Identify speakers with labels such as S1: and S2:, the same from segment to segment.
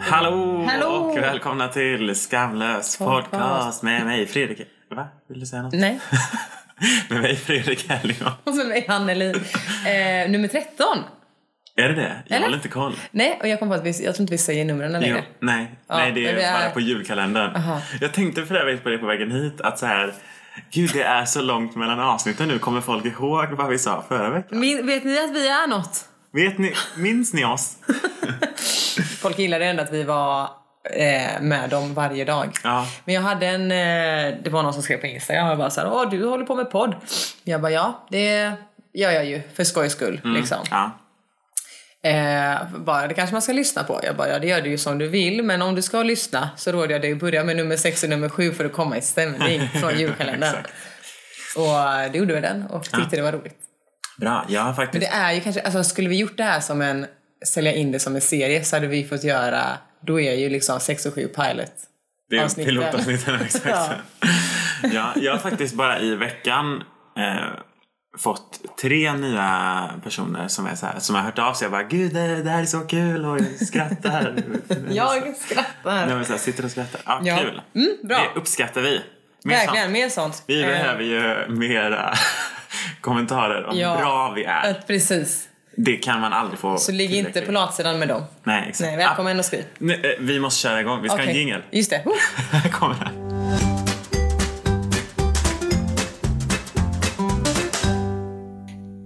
S1: Hallå,
S2: Hallå!
S1: och välkomna till Skamlös podcast,
S2: Podcast.
S1: med mig Fredrik. Va? Vill du säga något?
S2: Nej.
S1: med mig Fredrik Hellion.
S2: Och så mig, Anneli. Eh, nummer 13.
S1: Är det det? Jag
S2: Eller?
S1: håller inte koll.
S2: Nej, och jag kom på att vi, jag tror inte vi säger numren
S1: Jo,
S2: längre.
S1: nej,
S2: Ja,
S1: nej, det är
S2: men det är-
S1: bara på julkalendern.
S2: Aha.
S1: Jag tänkte för övrigt på det på vägen hit att så här, gud det är så långt mellan avsnitten nu. Kommer folk ihåg vad vi sa förra veckan?
S2: Min, vet ni att vi är något?
S1: Vet ni, minns ni oss?
S2: Folk gillade ändå att vi var eh, med dem varje dag.
S1: Ja.
S2: Men jag hade en, eh, det var någon som skrev på Instagram och bara så här, åh du håller på med podd. Jag bara ja, det gör jag ju för skojs skull
S1: Mm.
S2: liksom.
S1: Ja.
S2: Eh, bara, det kanske man ska lyssna på. Jag bara, ja det gör du ju som du vill men om du ska lyssna så råder jag dig att börja med nummer 6 och nummer 7 för att komma i stämning från julkalendern.
S1: Exakt.
S2: och eh, det gjorde vi den och tyckte det var roligt.
S1: Bra, jag har faktiskt...
S2: Det är ju kanske, alltså skulle vi gjort det här som en, sälja in det som en serie så hade vi fått göra, då är ju liksom 6 och 7 pilot.
S1: Det är
S2: Avsnitten.
S1: pilotavsnitten, exakt. ja.
S2: Ja.
S1: jag har faktiskt bara i veckan eh, fått tre nya personer som, är så här, som har hört av sig och bara Gud, det, det här är så kul och jag skrattar.
S2: Jag skrattar.
S1: Nej, men så här, sitter och skrattar. Ja,
S2: Ja.
S1: kul.
S2: Mm, bra.
S1: Det uppskattar vi. Mer
S2: Verkligen,
S1: sånt.
S2: mer sånt.
S1: Vi
S2: Eh,
S1: behöver ju mera kommentarer om
S2: ja.
S1: hur bra vi är.
S2: Eh, att- Precis.
S1: Det kan man aldrig få
S2: Så ligg inte
S1: tillräckligt.
S2: på latsidan med dem.
S1: Nej, exakt.
S2: Nej, välkommen och skriv.
S1: Ah, nej, eh, vi måste köra igång. Vi ska ha en
S2: Okej.
S1: jingel.
S2: Just det. Oh.
S1: Här kommer den.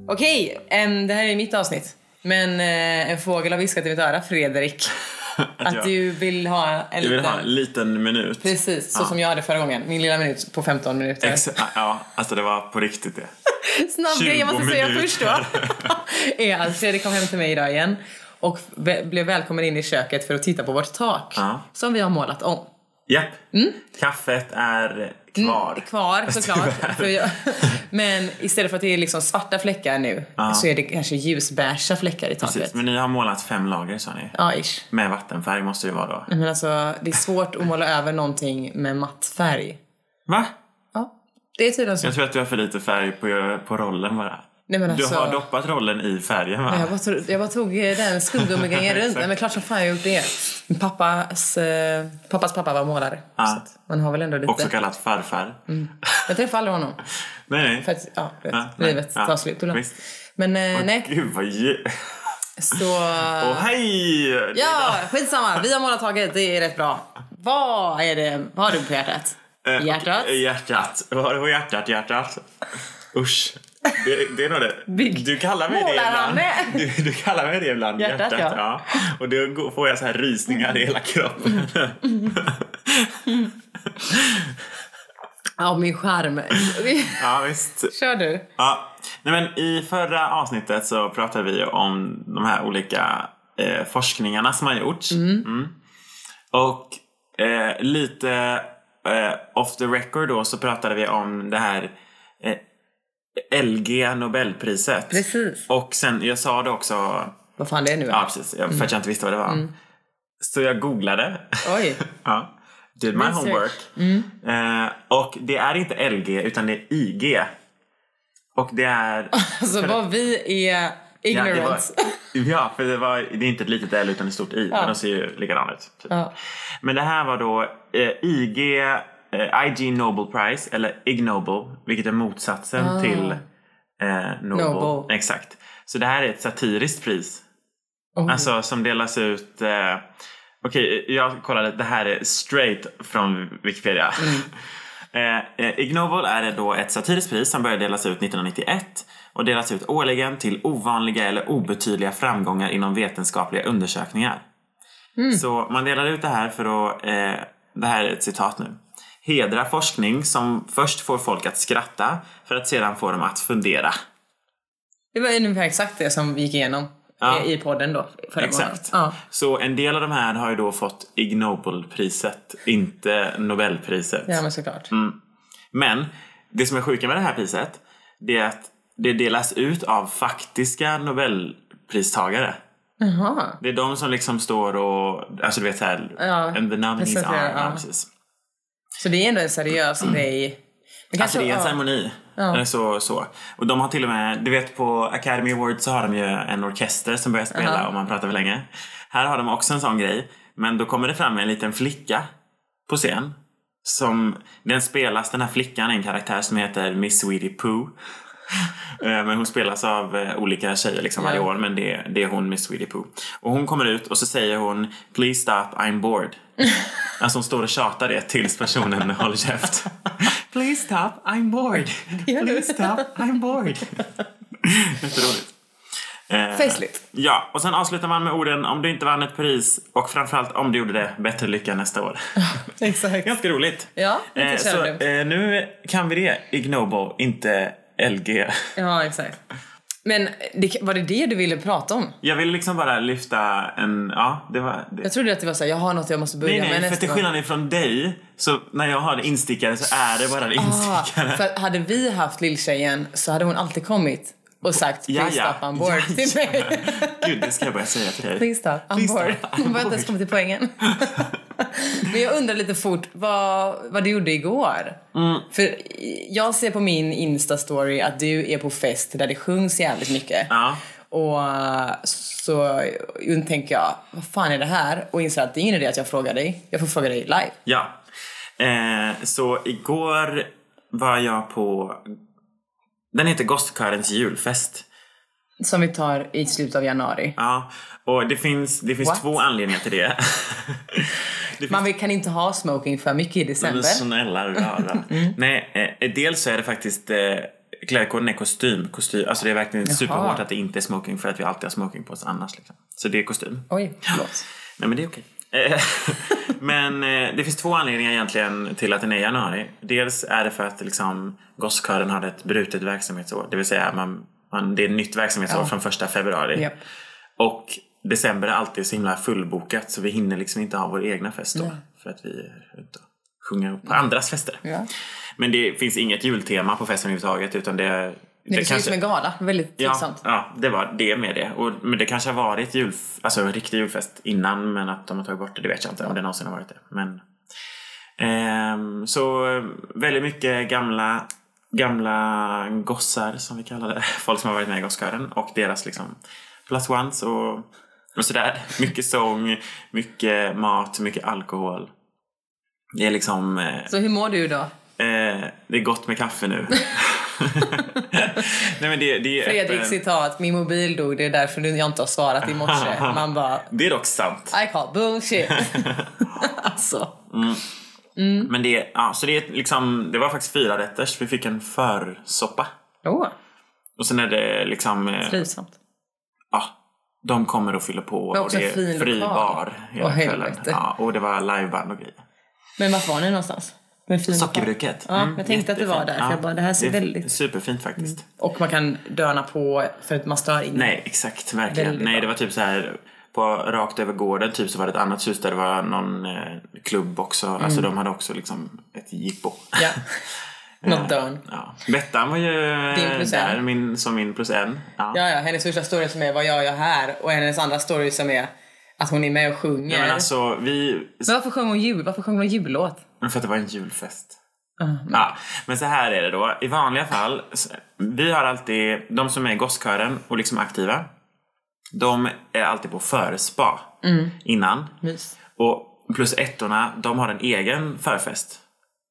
S2: Okej, em, det här är mitt avsnitt. Men eh, en fågel har viskat i mitt öra, Fredrik. Att
S1: jag-
S2: du vill ha en
S1: Jag vill
S2: liten...
S1: ha en liten minut.
S2: Precis, så
S1: Ja.
S2: som jag hade förra gången. Min lilla minut på 15 minuter.
S1: Ex- ja, alltså det var på riktigt det.
S2: Snabb grej jag
S1: 20
S2: måste säga först då.
S1: minuter.
S2: är att Fredrik kom hem till mig idag igen och ve- blev välkommen in i köket för att titta på vårt tak.
S1: Ja.
S2: Som vi har målat om.
S1: Japp.
S2: Mm.
S1: Kaffet är kvar.
S2: Kvar
S1: Tyvärr.
S2: såklart. För jag, men istället för att det är liksom svarta fläckar nu så är det kanske ljusbeiga fläckar i taket.
S1: Precis. Men ni har målat fem lager sa ni.
S2: Ja, ish.
S1: Med vattenfärg måste det vara då.
S2: Men alltså, det är svårt att måla över någonting med matt färg.
S1: Va?
S2: Ja, det är tydligen så.
S1: Jag tror att du har för lite färg på, på rollen bara.
S2: Nej, men
S1: Du
S2: alltså-
S1: har doppat rollen i färgen va?
S2: Jag bara, tog, jag bara tog eh, den skumgummigrejen runt.
S1: Exakt.
S2: Nej, men klart som fan jag gjort det. Min Pappas, eh, pappas pappa var målare.
S1: Ja.
S2: Så att man har väl ändå lite...
S1: Ah. Också kallat farfar.
S2: Mm. Jag träffade aldrig honom.
S1: Nej, nej.
S2: För att, ja, du vet,
S1: Ja, Ah, nej.
S2: livet
S1: Ja,
S2: tar slut ibland.
S1: visst.
S2: Men eh, nej,
S1: Gud vad ju...
S2: så...
S1: Åh hej!
S2: Ja, skitsamma. Vi har målat taget. Det är rätt bra. Vad är det? Vad har du på hjärtat?
S1: Eh,
S2: Hjärtat?
S1: eh, Hjärtat. Vad har du på hjärtat? Hjärtat. Usch. Det, det är nog det.
S2: Big.
S1: Du kallar mig det
S2: Målar
S1: ibland.
S2: han
S1: Du, du kallar mig det ibland.
S2: Hjärtat, ja.
S1: Och då går- får jag så här rysningar i hela
S2: Mm.
S1: kroppen.
S2: Ja, min skärm.
S1: ja, visst.
S2: Kör du.
S1: Ja. Nej, men I förra avsnittet så pratade vi om de här olika eh, forskningarna som har gjorts. Mm. Och eh, lite eh, off the record då så pratade vi om det här eh, LG Nobelpriset.
S2: Precis.
S1: Och sen, jag sa det också,
S2: Vad fan det är nu?
S1: ja precis, jag- för att jag inte visste vad det var. Så jag googlade.
S2: Oj.
S1: ja. Did my
S2: Research. Mm.
S1: homework. Eh, och det är inte LG utan det är IG. Och det är...
S2: Alltså vad vi är
S1: Ja, det var,
S2: ignorant.
S1: ja för det, var, det är inte ett litet L utan ett stort I. Men
S2: Ja.
S1: de ser ju likadana ut. Typ.
S2: Ja.
S1: Men det här var då eh, IG, eh, IG Nobel Prize, eller Ig Nobel, vilket är motsatsen
S2: Ah.
S1: till eh, Nobel.
S2: Nobel.
S1: Exakt. Så det här är ett satiriskt pris.
S2: Oj.
S1: Alltså som delas ut... Eh, Okej, jag kollade. Det här är straight från Wikipedia. eh, eh, Ig Nobel är då ett satiriskt pris som började delas ut 1991 och delas ut årligen till ovanliga eller obetydliga framgångar inom vetenskapliga undersökningar. Så man delar ut det här för att... Eh, det här är ett citat nu. Hedra forskning som först får folk att skratta för att sedan få dem att fundera.
S2: Det var ungefär exakt det som vi gick igenom
S1: Ja.
S2: i i podden då. Förra
S1: Exakt.
S2: Gången. Ja.
S1: Så en del av de här har ju då fått Ig Nobelpriset, inte Nobelpriset.
S2: ja, men såklart.
S1: Mm. Men det som är sjuka med det här priset, det är att det delas ut av faktiska Nobelpristagare.
S2: Jaha.
S1: Det är de som liksom står och, alltså du vet såhär,
S2: Ja,
S1: and the nominees
S2: presenterar,
S1: are, ja.
S2: ja.
S1: precis.
S2: Så det är ändå en seriös grej. Men
S1: Mm. Alltså det är en
S2: ja.
S1: ceremoni. Eller så, så. Och de har till och med, du vet på Academy Awards så har de ju en orkester som börjar spela om man pratar för länge. Här har de också en sån grej. Men då kommer det fram en liten flicka på scen. Som, den spelas, den här flickan är en karaktär som heter Miss Sweetie Pooh. Eh, Men hon spelas av eh, olika tjejer liksom varje
S2: Ja.
S1: år men det, det är hon Miss Sweetie Pooh. Och hon kommer ut och så säger hon Please stop, I'm bored. Alltså hon står och tjatar det tills personen håller käft. Please stop, I'm bored.
S2: Gör du?
S1: Please stop, I'm bored. Jätteroligt. Eh,
S2: Festligt.
S1: Ja, och sen avslutar man med orden om du inte vann ett pris och framförallt om du gjorde det, bättre lycka nästa år.
S2: Exakt.
S1: Ganska roligt.
S2: Ja, lite
S1: eh, så,
S2: challenge.
S1: eh, nu kan vi det, Ignobo, inte LG.
S2: Ja, exakt. Men det, var det det du ville prata om?
S1: Jag vill liksom bara lyfta en, ja, det var... Det.
S2: Jag trodde att det var så här, jag har något jag måste börja
S1: Nej, nej,
S2: med
S1: för till
S2: nästa
S1: skillnad från dig, så när jag har en instickare så är det bara en
S2: Ah,
S1: instickare.
S2: för att hade vi haft lilltjejen så hade hon alltid kommit och sagt
S1: Ja,
S2: please
S1: ja.
S2: stop on board
S1: Ja,
S2: till
S1: ja.
S2: mig.
S1: Gud, det ska jag börja säga till dig.
S2: Please stop on
S1: Please stop,
S2: board.
S1: I'm
S2: Hon var inte
S1: bored.
S2: ens kommit till poängen. Men jag undrar lite fort vad, vad du gjorde igår.
S1: Mm.
S2: För jag ser på min Insta-story att du är på fest där det sjungs jävligt mycket.
S1: Ja.
S2: Och så tänker jag, vad fan är det här? Och inser att det är ingen idé att jag frågar dig. Jag får fråga dig live.
S1: Ja. Eh, så igår var jag på... Den heter Gothkörens julfest.
S2: Som vi tar i slutet av januari.
S1: Ja, och det finns, det finns
S2: What?
S1: två anledningar till det. det
S2: Man vill- kan inte ha smoking för mycket i december.
S1: Men snälla rara. Nej, eh, dels så är det faktiskt eh, klädkoden är kostym. kostym. Alltså det är verkligen superhårt att det inte är smoking för att vi alltid har smoking på oss annars. Liksom. Så det är kostym.
S2: Oj, förlåt.
S1: Nej men det är okej. Eh, men eh, det finns två anledningar egentligen till att den är i januari. Dels är det för att liksom, gosskören hade ett brutet verksamhetsår. Det vill säga man, man, det är ett nytt verksamhetsår
S2: Ja.
S1: från första februari.
S2: Japp.
S1: Och december är alltid så himla fullbokat så vi hinner liksom inte ha vår egna fest då. För att vi är ute och sjunger på andras fester.
S2: Ja.
S1: Men det finns inget jultema på festen överhuvudtaget utan det, det,
S2: Det, det ser ut som en gala. Väldigt
S1: Ja,
S2: trivsamt.
S1: ja, det var det med det. Och, men det kanske har varit jul, alltså, en riktig julfest innan men att de har tagit bort det, det vet jag inte om det någonsin har varit det. Men, ehm, så eh, väldigt mycket gamla, gamla gossar som vi kallar det. Folk som har varit med i gosskören och deras liksom plus ones och, och sådär. Mycket sång, mycket mat, mycket alkohol. Det är liksom... eh,
S2: Så hur mår du då?
S1: Eh, det är gott med kaffe nu. Nej, men det, det, är
S2: Fredrik
S1: öppen-
S2: citat, min mobil dog, det är därför nu jag inte har svarat i morse. Man bara,
S1: det är dock sant.
S2: I call bullshit. alltså. Mm.
S1: Men det, ja, så det, är liksom, det var faktiskt fyra rätters. Vi fick en försoppa.
S2: Åh,
S1: Och sen är det liksom... eh,
S2: trivsamt.
S1: Ja, de kommer och fyller på.
S2: var
S1: Och
S2: också
S1: det är
S2: en fin
S1: fri
S2: lokal.
S1: bar hela
S2: Åh,
S1: kvällen.
S2: helvete.
S1: Ja, och det var liveband och grejer.
S2: Men vart var ni någonstans? Med fin
S1: Sockerbruket.
S2: Ja, jag tänkte att det var
S1: Mm, jättefint.
S2: där, för jag bara, det här ser
S1: är
S2: väldigt- Mm.
S1: Superfint faktiskt.
S2: Och man kan döna på för att man stör ingen.
S1: Nej, exakt. Verkligen.
S2: Väldigt
S1: Nej,
S2: bra.
S1: det var typ så här på rakt över gården typ så var det ett annat hus där det var någon eh, klubb också.
S2: Mm.
S1: Alltså de hade också liksom ett jippo.
S2: Ja. Något dörn.
S1: Ja. Bettan var ju eh,
S2: Din plus en.
S1: där min, som min plus en. Ja.
S2: Ja, ja, hennes första story som är vad gör jag här? Och hennes andra story som är att hon är med och sjunger.
S1: Nej, men alltså vi...
S2: Men varför sjöng hon jul? Varför sjöng hon jullåt?
S1: För att det var en julfest.
S2: Ah,
S1: Ja, men så här är det då. I vanliga fall, s- vi har alltid, de som är i gosskören och liksom aktiva, de är alltid på förspa
S2: Mm.
S1: innan.
S2: Mys.
S1: Och plus ettorna, de har en egen förfest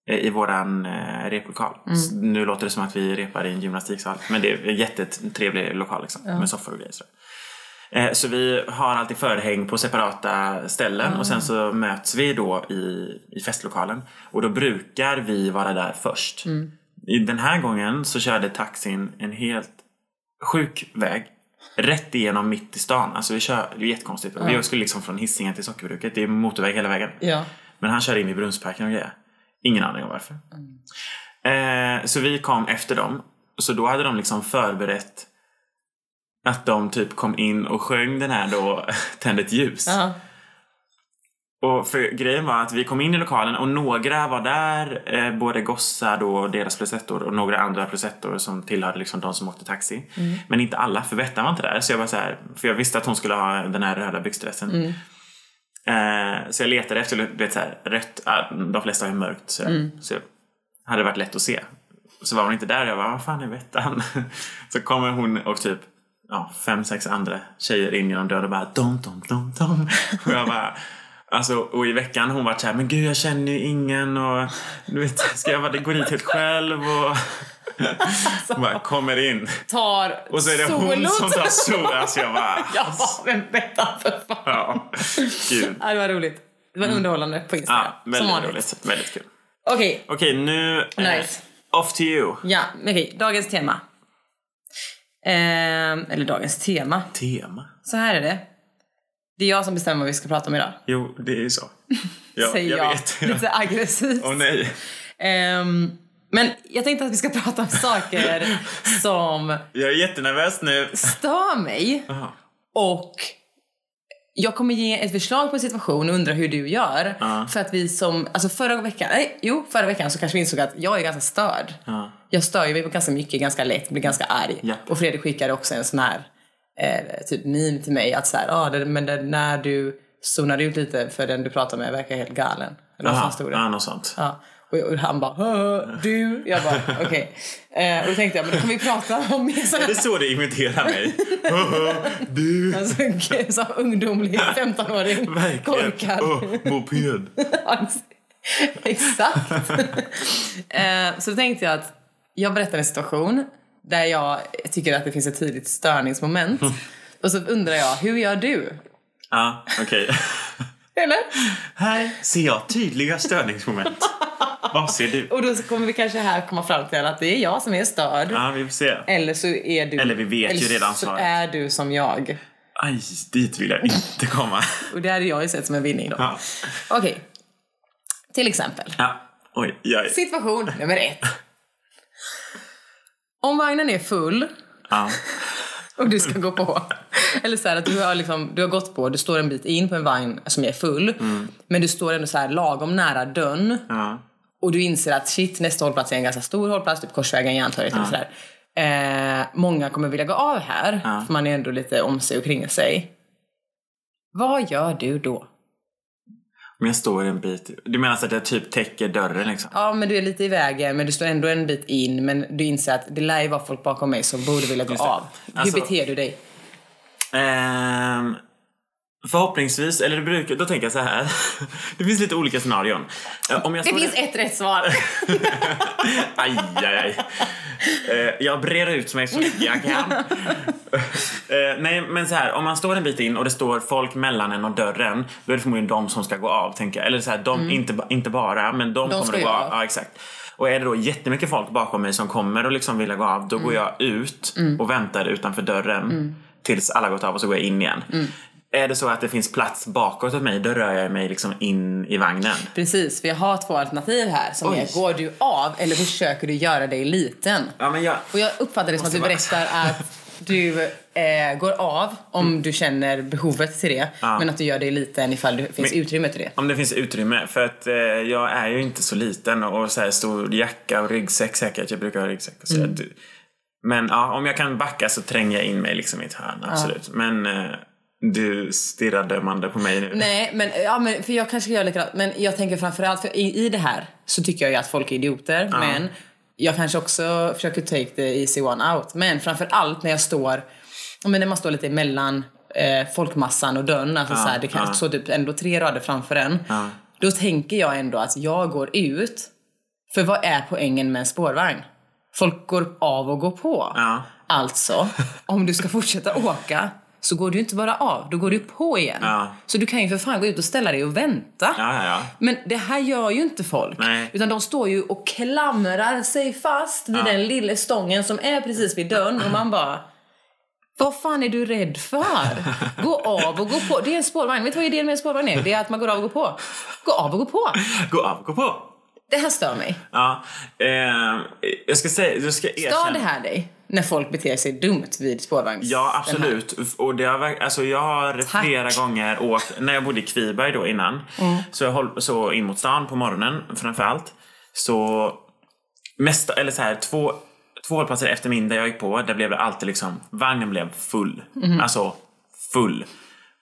S1: eh, i våran eh, replokal.
S2: Mm.
S1: S- Nu låter det som att vi repar i en gymnastiksal, men det är en jättetrevlig lokal liksom, med soffor och grejer. Så. Eh, så vi har alltid förhäng på separata ställen och sen så möts vi då i, i festlokalen. Och då brukar vi vara där först. I den här gången så körde taxin en helt sjuk väg. Rätt igenom mitt i stan. Alltså vi kör, det är jättekonstigt. Och Jag skulle liksom från Hisingen till Sockerbruket. Det är motorväg hela vägen.
S2: Ja.
S1: Men han kör in i Brunnsparken och grejer. Ingen aning om varför. Eh, så vi kom efter dem. Så då hade de liksom förberett att de typ kom in och sjöng den här då, Tänd ett ljus.
S2: Ja.
S1: Och för grejen var att vi kom in i lokalen och några var där, eh, både gossar då och deras plusettor och några andra plusettor som tillhörde liksom de som åkte taxi. Men inte alla, för Bettan var inte där. Så jag var så här, för jag visste att hon skulle ha den här röda byxdressen. Eh, så jag letade efter, du vet så här, rött, ah, de flesta har ju mörkt så, så hade det varit lätt att se. Så var hon inte där och jag bara, vad fan är Bettan? Så kommer hon och typ ja, fem, sex andra tjejer in genom dörren och bara dom, dom, dom, dom. Och jag bara, Alltså, och i veckan hon varit så här, men gud jag känner ju ingen och du vet, ska jag bara gå dit helt själv och... Hon bara kommer in
S2: Tar
S1: och så är det hon som tar sol. Alltså jag bara,
S2: Jag bara, men vänta för fan. Ja.
S1: ja, gud.
S2: det var roligt. Det var underhållande på Instagram.
S1: Mm. Ja, väldigt roligt. Väldigt kul.
S2: Okej,
S1: Okej, nu... eh,
S2: Nice.
S1: Off to you.
S2: ja, okej. Dagens tema. Ehm, eller dagens tema.
S1: Tema?
S2: Så här är det. Det är jag som bestämmer vad vi ska prata om idag.
S1: Jo, det är ju så. Ja,
S2: säger jag.
S1: jag vet.
S2: Lite aggressivt.
S1: Åh nej.
S2: Ehm, men jag tänkte att vi ska prata om saker som
S1: Jag är jättenervös nu.
S2: stör mig.
S1: Aha.
S2: Och jag kommer ge ett förslag på en situation och undra hur du gör.
S1: Ja.
S2: För att vi som, alltså förra veckan, nej jo förra veckan så kanske vi insåg att jag är ganska störd.
S1: Ja.
S2: Jag stör ju mig på ganska mycket, ganska lätt, blir ganska arg.
S1: Ja.
S2: Och Fredrik skickade också en sån här eh, typ meme till mig att så här, ah, det, men det, när du zonar ut lite för den du pratar med verkar helt galen. Eller vad fan
S1: Aha,
S2: stod det?
S1: ja, något sånt.
S2: Ja. Och, och han bara "Hö, du. Jag bara okej. Eh, och då tänkte jag men då kan vi prata om mer sådana
S1: Det är så det imiterar mig. du.
S2: Alltså, gud, så ungdomlig 15-åring.
S1: Verkligen.
S2: Korkad.
S1: Oh, moped.
S2: Exakt. Eh, så då tänkte jag att jag berättar en situation där jag tycker att det finns ett tydligt störningsmoment. Och så undrar jag, hur gör du?
S1: Ja, okej.
S2: Eller?
S1: Här ser jag tydliga störningsmoment. Vad ser du?
S2: Och då så kommer vi kanske här komma fram till att det är jag som är störd.
S1: Ja, vi får se.
S2: Eller så är du...
S1: Eller vi vet ju redan
S2: så
S1: svaret.
S2: är du som jag.
S1: Aj, dit vill jag inte komma.
S2: Och det hade jag ju sett som en vinning då.
S1: Ja.
S2: Okej. Till exempel.
S1: ja. Oj, jag...
S2: Situation nummer ett. Om vagnen är full
S1: Ja.
S2: och du ska gå på. Eller så här att du har, liksom, du har gått på, du står en bit in på en vagn som är full. Men du står ändå så här lagom nära dörren.
S1: Ja.
S2: Och du inser att shit, nästa hållplats är en ganska stor hållplats, typ Korsvägen, Järntorget eller sådär. Eh, många kommer vilja gå av här,
S1: Ja.
S2: för man är ändå lite om sig och kring sig. Vad gör du då?
S1: Men jag står en bit... Du menar så att jag typ täcker dörren liksom?
S2: Ja, men du är lite i vägen, men du står ändå en bit in. Men du inser att det lär ju vara folk bakom mig som borde vilja gå
S1: det.
S2: av.
S1: Alltså-
S2: Hur beter du dig?
S1: Ehm, förhoppningsvis, eller det brukar, då tänker jag så här. Det finns lite olika scenarion. Eh, Om jag
S2: Det
S1: står-
S2: finns ett rätt svar.
S1: Aj, aj, aj. Eh, jag brer ut mig så mycket jag kan. Eh, nej, men så här, om man står en bit in och det står folk mellan en och dörren, då är det förmodligen de som ska gå av, tänker jag. Eller så här, de, inte, ba- inte bara, men Mm. de, kommer
S2: ska
S1: att gå
S2: ju
S1: av.
S2: av.
S1: Ja, exakt. Och är det då jättemycket folk bakom mig som kommer och liksom vill gå av, då går jag ut och väntar utanför dörren tills alla gått av och så går jag in igen. Är det så att det finns plats bakåt åt mig, då rör jag mig liksom in i vagnen.
S2: Precis, för jag har två alternativ här. Som
S1: Oj.
S2: är, går du av eller försöker du göra dig liten?
S1: Ja, men jag...
S2: Och jag uppfattar det som att du
S1: Måste
S2: berättar att du eh, går av om
S1: Mm.
S2: du känner behovet till det. Men att du gör dig liten ifall det finns utrymme till det.
S1: Om det finns utrymme. För att eh, jag är ju inte så liten och, och så här stor jacka och ryggsäck säkert. Jag brukar ha ryggsäck. Och så
S2: Mm.
S1: att, men ja, om jag kan backa så tränger jag in mig liksom i ett hörn. Absolut. Men eh, du stirrar dömande på mig nu.
S2: Nej, men, ja, men för jag kanske gör likadant. Men jag tänker framförallt, för i, i det här så tycker jag ju att folk är idioter. Men jag kanske också försöker take the easy one out. Men framförallt när jag står, ja, men när man står lite emellan eh, folkmassan och dörren. Alltså så här, det kan
S1: ja.
S2: stå typ ändå tre rader framför en.
S1: Ja.
S2: Då tänker jag ändå att jag går ut. För vad är poängen med en spårvagn? Folk går av och går på.
S1: Ja.
S2: Alltså, om du ska fortsätta åka så går du inte bara av, då går du på igen.
S1: Ja.
S2: Så du kan ju för fan gå ut och ställa dig och vänta.
S1: Ja, ja, ja.
S2: Men det här gör ju inte folk.
S1: Nej.
S2: Utan de står ju och klamrar sig fast vid den lilla stången som är precis vid dörren och man bara vad fan är du rädd för? Gå av och gå på. Det är en spårvagn. Vet du vad idén med en spårvagn är? Det är att man går av och går på. Gå av och gå på.
S1: Gå av, gå på!
S2: Det här stör mig.
S1: Ja, eh, jag ska säga, jag ska erkänna.
S2: Stör det här dig? När folk beter sig dumt vid spårvagns...
S1: Ja, absolut. Och det har, verk- alltså jag har
S2: Tack. Mm.
S1: flera gånger åkt, när jag bodde i Kviberg då innan, så, jag håll, så in mot stan på morgonen framför allt så mest, eller så här, två, två hållplatser efter min där jag gick på, där blev det alltid liksom, vagnen blev full. Alltså full.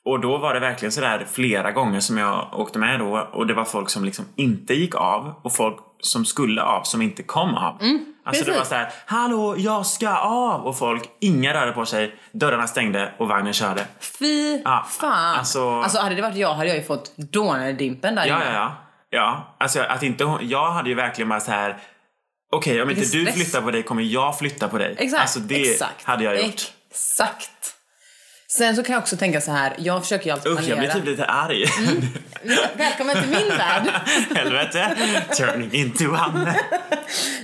S1: Och då var det verkligen sådär flera gånger som jag åkte med då och det var folk som liksom inte gick av och folk som skulle av som inte kom av. alltså det
S2: precis.
S1: var såhär, hallå jag ska av! Och folk, inga rörde på sig, dörrarna stängde och vagnen körde.
S2: Fy
S1: Ja,
S2: fan!
S1: alltså-
S2: alltså hade det varit jag hade jag ju fått dånerdimpen där
S1: Ja,
S2: inne.
S1: ja, ja. Ja, alltså att inte hon, jag hade ju verkligen bara så här. Okej, om inte
S2: Vilken
S1: du
S2: stress.
S1: flyttar på dig kommer jag flytta på dig.
S2: Exakt.
S1: Alltså det
S2: exakt,
S1: hade jag gjort.
S2: Exakt. Sen så kan jag också tänka så här, jag Mm. försöker ju alltid
S1: Usch, jag blir
S2: planera.
S1: typ lite arg.
S2: Välkommen till min värld!
S1: Helvete. Turning into one.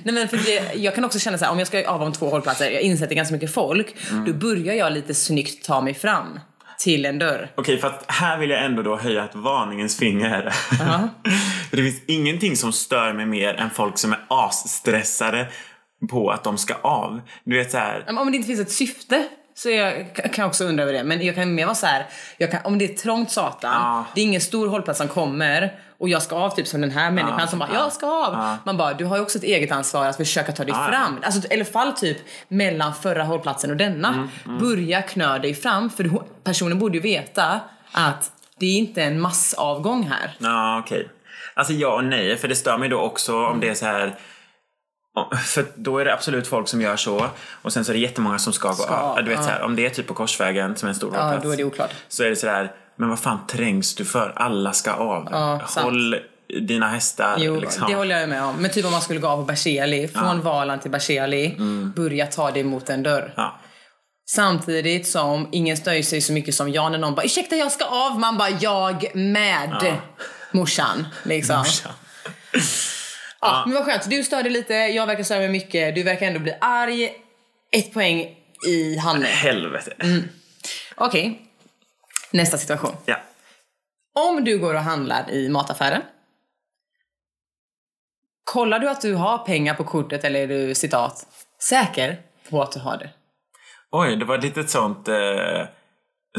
S2: Nej, men för det, jag kan också känna så här, om jag ska av om två hållplatser, jag inser att det är ganska mycket folk,
S1: Mm.
S2: då börjar jag lite snyggt ta mig fram till en dörr.
S1: Okej, för att här vill jag ändå då höja ett varningens finger.
S2: Uh-huh.
S1: För det finns ingenting som stör mig mer än folk som är asstressade på att de ska av. Du vet så här.
S2: Ja, men Om det inte finns ett syfte så är jag, kan jag också undra över det. Men jag kan mer vara så här, jag kan, om det är trångt satan,
S1: Ja.
S2: det är ingen stor hållplats som kommer och jag ska av typ som den här människan som bara,
S1: ja.
S2: jag ska av. Man bara, du har ju också ett eget ansvar att försöka ta dig
S1: ja.
S2: fram. Alltså, eller fall typ mellan förra hållplatsen och denna.
S1: Mm,
S2: Börja knö dig fram för du- personen borde ju veta att det är inte en massavgång här.
S1: Ja, okej. Alltså ja och nej, för det stör mig då också om det är så här... om- För då är det absolut folk som gör så och sen så är det jättemånga som ska gå
S2: Ska,
S1: av. Ja, Du vet
S2: ja.
S1: så här, om det är typ på Korsvägen som är en stor
S2: Ja,
S1: hållplats,
S2: då är det oklart.
S1: så är det så här, men vad fan trängs du för? Alla ska av.
S2: Ja, sant.
S1: Håll dina hästar
S2: Jo,
S1: liksom.
S2: det håller jag ju med om. Men typ om man skulle gå av på Berzelii, från Valand till Berzelii,
S1: Mm.
S2: börja ta dig mot en dörr.
S1: Ja.
S2: Samtidigt som ingen stör sig så mycket som jag när någon bara ursäkta jag ska av, man bara jag med
S1: Ja.
S2: morsan. Liksom.
S1: Morsan.
S2: Ja, men vad skönt, du stör dig lite, jag verkar störa mig mycket, du verkar ändå bli arg. Ett poäng i handen.
S1: Helvete.
S2: Mm. Okej, nästa situation.
S1: Ja.
S2: Om du går och handlar i mataffären. Kollar du att du har pengar på kortet eller är du citat säker på att du har det?
S1: Oj, det var ett litet sånt... Eh,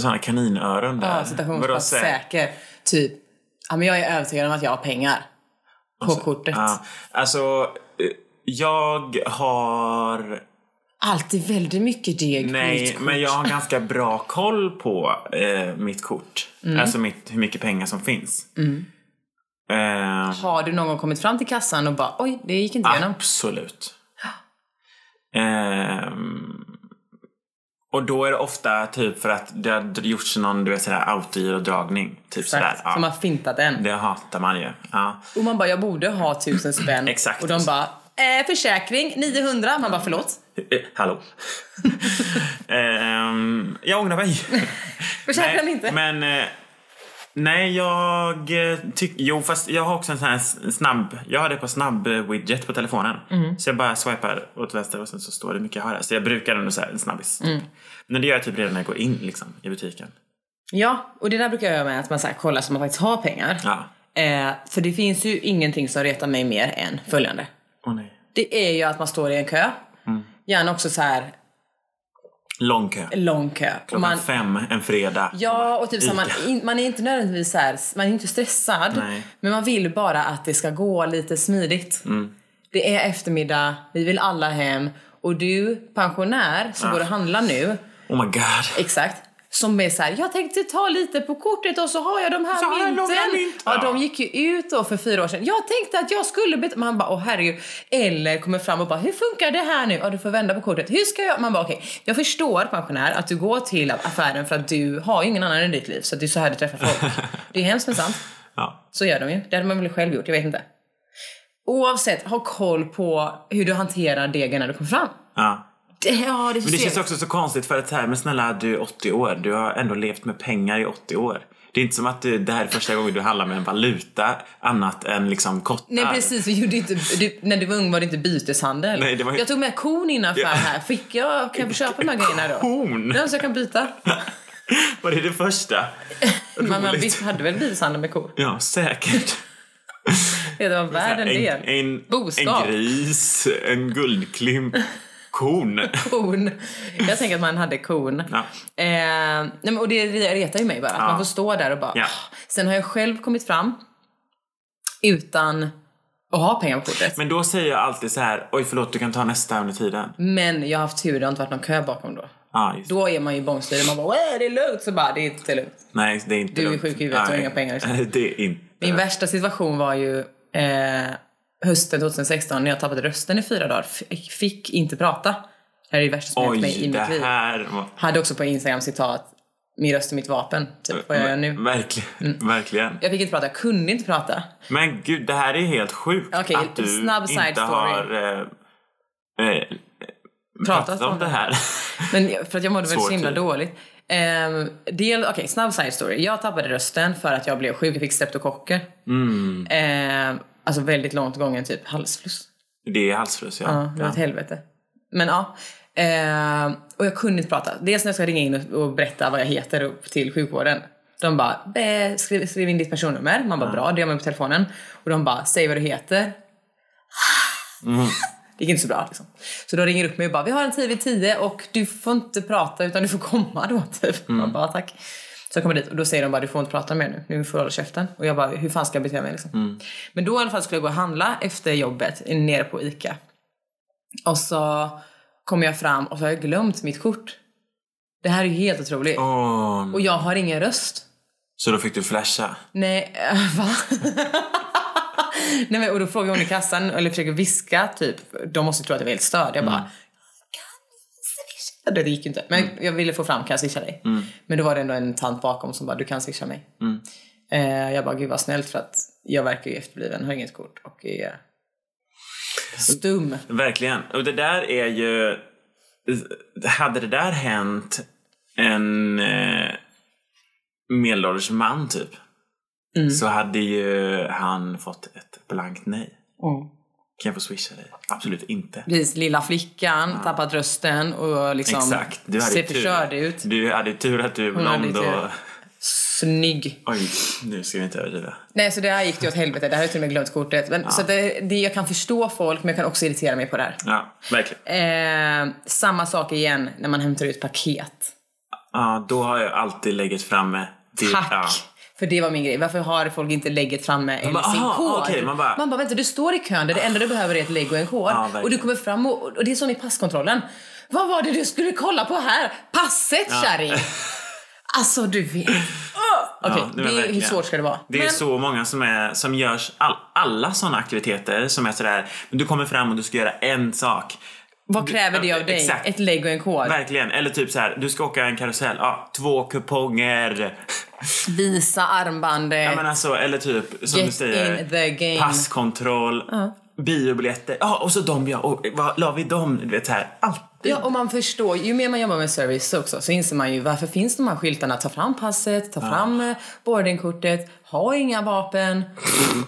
S1: såna kaninöron där.
S2: Ja,
S1: Ah, Vadå,
S2: citationstecken
S1: sä-
S2: säker. Typ, ja men jag är övertygad om att jag har pengar. På kortet.
S1: Ja. Alltså, eh, jag har...
S2: Alltid väldigt mycket deg på
S1: Nej,
S2: mitt kort.
S1: men jag har ganska bra koll på eh, mitt kort.
S2: Mm.
S1: Alltså mitt, hur mycket pengar som finns. Eh,
S2: Har du någon gång kommit fram till kassan och bara oj, det gick
S1: Ah,
S2: inte igenom?
S1: absolut. Ehm, och då är det ofta typ för att det har d- gjorts någon du vet, sådär, autogirodragning. Typ sådär.
S2: Exakt, som
S1: Ja.
S2: har fintat en.
S1: Det hatar man ju. Ja.
S2: Och man bara jag borde ha tusen spänn.
S1: Exakt.
S2: Och de bara eh, försäkring 900. Man bara förlåt.
S1: Eh, Hallå. Ehm, jag ångrar mig.
S2: Försäkra mig inte.
S1: Men, eh, nej, jag tycker... Jo, fast jag har också en sån här s- snabb... Jag har det på snabb-widget på telefonen. Så jag bara swipar åt vänster och sen så står det hur mycket jag har här. Så jag brukar ändå så här en snabbis. Typ. Men det gör jag typ redan när jag går in liksom, i butiken.
S2: Ja, och det där brukar jag göra med att man så här, kollar så man faktiskt har pengar.
S1: Ja.
S2: Eh, för det finns ju ingenting som retar mig mer än följande.
S1: Åh nej.
S2: Det är ju att man står i en kö.
S1: Mm.
S2: Gärna också så här
S1: Lång kö.
S2: lång kö. Och
S1: Klockan
S2: man,
S1: fem en fredag.
S2: ja, och typ så här, man,
S1: Ica.
S2: in, man är inte nödvändigtvis så här, man är inte stressad.
S1: Nej.
S2: Men man vill bara att det ska gå lite smidigt. Det är eftermiddag, vi vill alla hem. Och du, pensionär, som går och handlar nu.
S1: Oh my god.
S2: Exakt. Som är så här, jag tänkte ta lite på kortet och så har jag de här
S1: Så har jag långa
S2: mynten.
S1: mynt.
S2: Ja,
S1: Ja.
S2: de gick ju ut då för fyra år sedan. Jag tänkte att jag skulle betala. Man bara, åh herregud. Eller kommer fram och bara, hur funkar det här nu? Ja, du får vända på kortet. Hur ska jag? Man bara, okej. Jag förstår pensionär att du går till affären för att du har ju ingen annan i ditt liv. Så det är så här du träffar folk. Det är hemskt men sant.
S1: Ja.
S2: Så gör de ju. Det hade man väl själv gjort, jag vet inte. Oavsett, ha koll på hur du hanterar degen när du kommer fram.
S1: ja.
S2: Det, ja, det, är så
S1: Men det känns
S2: trevligt.
S1: också så konstigt för att så här, men snälla du är 80 år, du har ändå levt med pengar i 80 år. Det är inte som att du, det här är första gången du handlar med en valuta annat än liksom kottar.
S2: Nej precis, vi gjorde inte, du, när du var ung var det inte byteshandel.
S1: Nej, det var ju-
S2: Jag tog med kon innan affär här. Fick jag, kan jag få köpa de här grejerna då?
S1: Kon?
S2: Ja, så jag kan byta.
S1: Var det det första?
S2: Men man
S1: Roligt.
S2: visst hade väl byteshandel med kor?
S1: Ja, säkert.
S2: Det var värd en
S1: en,
S2: del.
S1: en,
S2: Boskap.
S1: en gris, en guldklimp, korn.
S2: Kon. Jag tänker att man hade kon.
S1: Ja.
S2: Eh, nej, men, och det retar ju mig bara. Att
S1: Ja.
S2: man får stå där och bara...
S1: Ja.
S2: "Ah." Sen har jag själv kommit fram utan att ha pengar på kortet. Men,
S1: Men då säger jag alltid så här, oj förlåt du kan ta nästa under tiden.
S2: jag har haft tur, det har inte varit någon kö bakom då.
S1: Ja, just.
S2: Då är man ju bångstyrig. Man bara "Äh, det är lugnt. Så bara det är inte lugnt.
S1: Nej, det är inte
S2: Du är
S1: lugnt.
S2: sjuk i huvudet och
S1: Nej.
S2: inga pengar, liksom.
S1: Det är inte.
S2: Min värsta situation var ju eh, hösten 2016 när jag tappade rösten i fyra dagar. F- fick inte prata. Det här är det värsta som hänt mig i
S1: Oj, det
S2: mitt liv.
S1: här var...
S2: Hade också på Instagram citat Min röst är mitt vapen.
S1: Mm.
S2: Typ vad jag gör nu.
S1: Verkligen.
S2: Mm.
S1: Verkligen.
S2: Jag fick inte prata. Jag kunde inte prata.
S1: Men gud, det här är helt sjukt.
S2: Okej,
S1: att du
S2: snabb side
S1: inte
S2: story.
S1: har eh, eh, pratat om det här.
S2: Men jag- för att jag mådde väl
S1: Svår
S2: så himla
S1: tid.
S2: dåligt. Um, del, okej, snabb side story. Jag tappade rösten för att jag blev sjuk. Jag fick streptokocker.
S1: Mm.
S2: Ehm, alltså väldigt långt gången typ halsfluss.
S1: Det är halsfluss, ja.
S2: Ja, det var ett helvete. Men ja. Ehm, och jag kunde inte prata. Dels när jag ska ringa in och, och berätta vad jag heter upp till sjukvården. De bara, "Eh, skriv, skriv in ditt personnummer. Man bara, bra, det gör man på telefonen. Och de bara, säg vad du heter. Det gick inte så bra liksom. Så de ringer upp mig och bara, vi har en tid vid tio och du får inte prata utan du får komma då typ. Man bara, tack. Så jag kommer dit och då säger de bara, du får inte prata mer nu, nu får du hålla käften. Och jag bara, hur fan ska jag bete mig liksom? Men då i alla fall skulle jag gå och handla efter jobbet nere på ICA. Och så kommer jag fram och så har jag glömt mitt kort. Det här är ju helt otroligt.
S1: Åh,
S2: Och jag har ingen röst.
S1: så då fick du flasha.
S2: Nej, eh, va? Nej, men, och då frågar hon i kassan, eller försöker viska, typ. De måste tro att jag är helt störd. Jag bara, kan du swisha? Det gick ju inte. Men jag ville få fram, kan jag swisha dig? Men då var det ändå en tant bakom som bara, du kan swisha mig. Eh, jag bara, gud vad snällt för att jag verkar ju efterbliven, har inget kort och är stum.
S1: Verkligen. Och det där är ju... Hade det där hänt en eh, medelålders man, typ,
S2: Mm.
S1: så hade ju han fått ett blankt nej.
S2: Mm.
S1: Kan jag få swisha dig? Absolut inte.
S2: Precis, lilla flickan, tappat rösten och liksom
S1: Exakt. Du hade
S2: ser
S1: ju
S2: förstörd
S1: tur.
S2: ut.
S1: Du hade ju tur att du är
S2: hade ju
S1: blond och...
S2: tur. Snygg.
S1: Oj, nu ska vi inte överdriva.
S2: Nej, så det här gick ju åt helvete. Det här har jag till och med glömt kortet. Men, Så att det, det, jag kan förstå folk, men jag kan också irritera mig på det här.
S1: Ja, verkligen.
S2: Eh, samma sak igen när man hämtar ut paket.
S1: Ja, då har jag alltid legat framme. till-
S2: Tack!
S1: Ja.
S2: För det var min grej. Varför har folk inte lägget framme eller
S1: bara,
S2: sin
S1: aha,
S2: kod?
S1: okej, man bara-
S2: vänta, du står i kön där det enda du behöver är ett lägg och en kod.
S1: Ja, verkligen.
S2: och du kommer fram och, och det är som i passkontrollen. Vad var det du skulle kolla på här? Passet, kärring! Alltså, du vet. Öh! Okej,
S1: Ja, nej, men
S2: det är, hur
S1: verkligen.
S2: svårt ska det vara?
S1: Det är
S2: Men-
S1: så många som, är, som görs all, alla sådana aktiviteter som är sådär, men du kommer fram och du ska göra en sak.
S2: Vad kräver det av dig?
S1: Exakt.
S2: Ett lägg och en kod.
S1: Verkligen. Eller typ så här, du ska åka en karusell, ja, två kuponger.
S2: Visa armbandet.
S1: Ja, men alltså, eller typ som
S2: Get
S1: du säger,
S2: in the game.
S1: passkontroll, biobiljetter, ja och så de ja, och vad la vi dem? Du vet så här, alltid.
S2: Ja, och man förstår, ju mer man jobbar med service också så inser man ju varför finns de här skyltarna? Ta fram passet, ta fram eh, boardingkortet, ha inga vapen.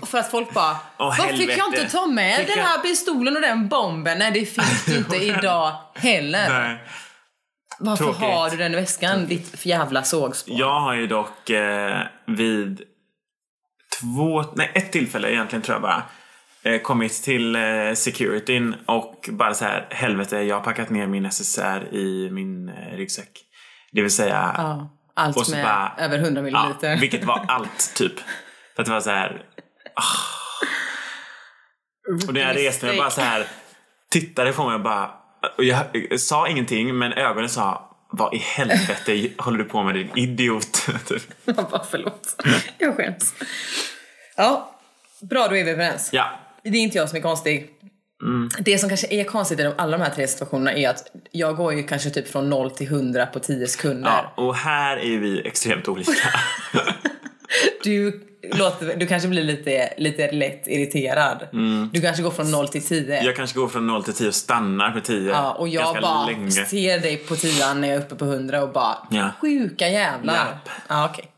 S2: För att folk bara, varför fick jag
S1: helvete.
S2: inte ta med
S1: Fick
S2: den
S1: jag-
S2: här pistolen och den bomben? Nej, det finns ju inte idag heller.
S1: Nej.
S2: varför
S1: tråkigt.
S2: har du den i väskan, ditt jävla sågspån?
S1: Jag har ju dock eh, vid två, nej ett tillfälle egentligen tror jag bara eh, kommit till eh, securityn och bara så här helvete jag har packat ner min SSR i min eh, ryggsäck. Det vill säga
S2: Ja, allt
S1: Och så
S2: med
S1: bara-
S2: över 100
S1: ja,
S2: milliliter.
S1: vilket var allt typ. För att det var så här
S2: Ah.
S1: och när jag reste mig jag bara så här tittade på mig och bara och jag eh, sa ingenting men ögonen sa vad i helvete håller du på med din idiot? Typ.
S2: Man bara, förlåt. Jag skäms. Ja, bra då är vi överens.
S1: ja,
S2: Det är inte jag som är konstig.
S1: Mm.
S2: Det som kanske är konstigt i de- alla de här tre situationerna är att jag går ju kanske typ från 0 till 100 på 10 sekunder.
S1: ja, och här är ju vi extremt olika.
S2: Du, låter, du kanske blir lite, lite lätt irriterad. Du kanske går från 0 till 10.
S1: Mm. Jag kanske går från 0 till 10 och stannar på 10.
S2: Ja, och jag
S1: ganska
S2: bara
S1: länge.
S2: ser dig på 10 när jag är uppe på 100 och bara
S1: Ja.
S2: sjuka jävlar.
S1: Japp.
S2: Ja, okej.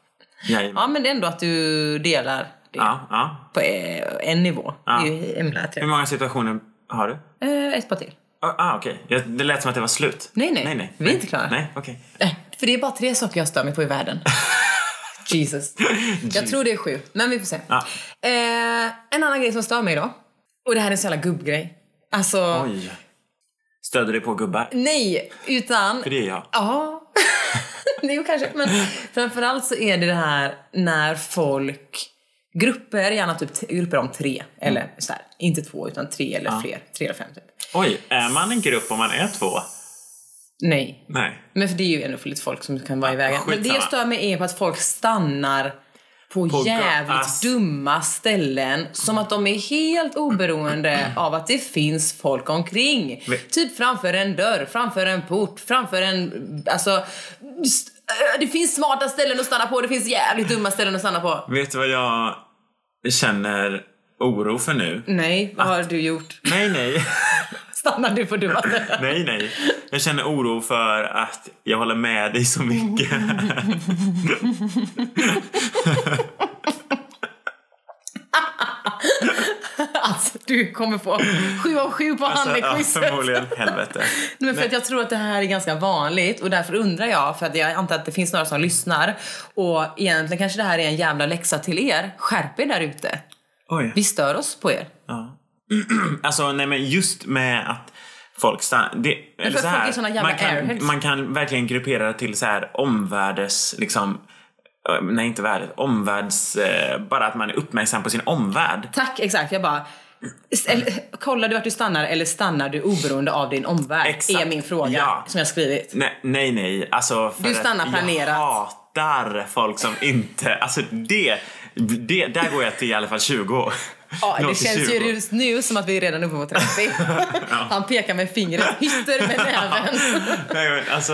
S1: Jajamän.
S2: Ja, men det är ändå att du delar det
S1: Ja, ja.
S2: på eh, en nivå. Det är ju himla
S1: Hur
S2: trevligt.
S1: många situationer har du?
S2: Eh, ett par till.
S1: Ah, ah, okej. Jag- Det lät som att det var slut.
S2: Nej, nej.
S1: nej, nej.
S2: Vi är inte klara.
S1: Nej, okej.
S2: Nej, för det är bara tre saker jag stör mig på i världen. Jesus. Jag tror det är sju, men vi får se.
S1: Mm. Ja.
S2: Eh, en annan grej som stör mig då. Och det här är en sån jävla gubbgrej. Alltså,
S1: Oj. Stöder dig på gubbar?
S2: nej, utan...
S1: För det är jag.
S2: Ja. jo, kanske. Men framförallt så är det det här när folk... Grupper, gärna typ t- grupper om tre.
S1: Mm.
S2: Eller så här, inte två, utan tre eller fler. Tre eller fem typ.
S1: Oj, är man en grupp om man är två?
S2: Nej.
S1: Nej.
S2: Men för det är ju ändå för lite folk som kan vara i vägen. Men det
S1: skitsamma.
S2: jag stör mig är på att folk stannar på,
S1: På
S2: jävligt
S1: gas.
S2: dumma ställen. Som att de är helt oberoende av att det finns folk omkring.
S1: Men-
S2: Typ framför en dörr, framför en port, framför en... Alltså... st- äh, Det finns smarta ställen att stanna på, det finns jävligt dumma ställen att stanna på.
S1: Vet du vad jag känner oro för nu?
S2: Nej, vad har du gjort?
S1: Nej, nej.
S2: Stannar du på dumma ställen?
S1: nej, nej. Jag känner oro för att jag håller med dig så mycket.
S2: Alltså, du kommer få sju av sju på
S1: Alltså, ja,
S2: handläggningsquizet.
S1: förmodligen. Helvete.
S2: Nej, men för att jag tror att det här är ganska vanligt och därför undrar jag, för att jag antar att det finns några som lyssnar och egentligen kanske det här är en jävla läxa till er. Skärp er där ute.
S1: Oj.
S2: Vi stör oss på er.
S1: Ja. alltså, nej men just med att folk stannar. Det, eller
S2: för
S1: så
S2: folk
S1: här,
S2: är såna jävla
S1: man, kan,
S2: airheads.
S1: man kan verkligen gruppera det till så här omvärldes, liksom, eh, nej inte världen, omvärlds, eh, bara att man är uppmärksam på sin omvärld.
S2: Tack, exakt. Jag bara... s- Eller, kollar du vart du stannar eller stannar du oberoende av din omvärld?
S1: Exakt.
S2: Är min fråga
S1: Ja.
S2: som jag skrivit.
S1: Nej, nej, nej. Alltså för
S2: Du
S1: att
S2: stannar planerat.
S1: Jag hatar folk som inte... Alltså det, det... Där går jag till i alla fall 20.
S2: Ja,
S1: Noll
S2: det
S1: till
S2: känns
S1: 20.
S2: ju just nu som att vi är redan uppe på 30. Han pekar med fingret, hytter med näven.
S1: Nej, men alltså,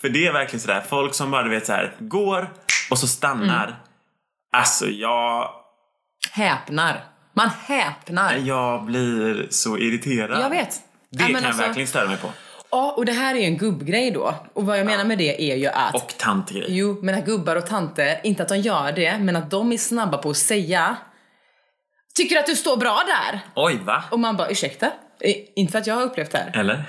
S1: för det är verkligen sådär, folk som bara du vet såhär, går och så stannar.
S2: Mm.
S1: Alltså jag,
S2: häpnar. Man häpnar.
S1: jag blir så irriterad.
S2: Jag vet.
S1: Det
S2: Ja, men
S1: kan
S2: alltså-
S1: jag verkligen störa mig på.
S2: Ja, och det här är ju en gubbgrej då. Och vad jag menar med det är ju att
S1: Och tantgrej.
S2: Jo, men att gubbar och tanter, inte att de gör det, men att de är snabba på att säga Tycker du att du står bra där?
S1: Oj, va?
S2: Och man bara ursäkta? Eh, Inte för att jag har upplevt det här.
S1: Eller?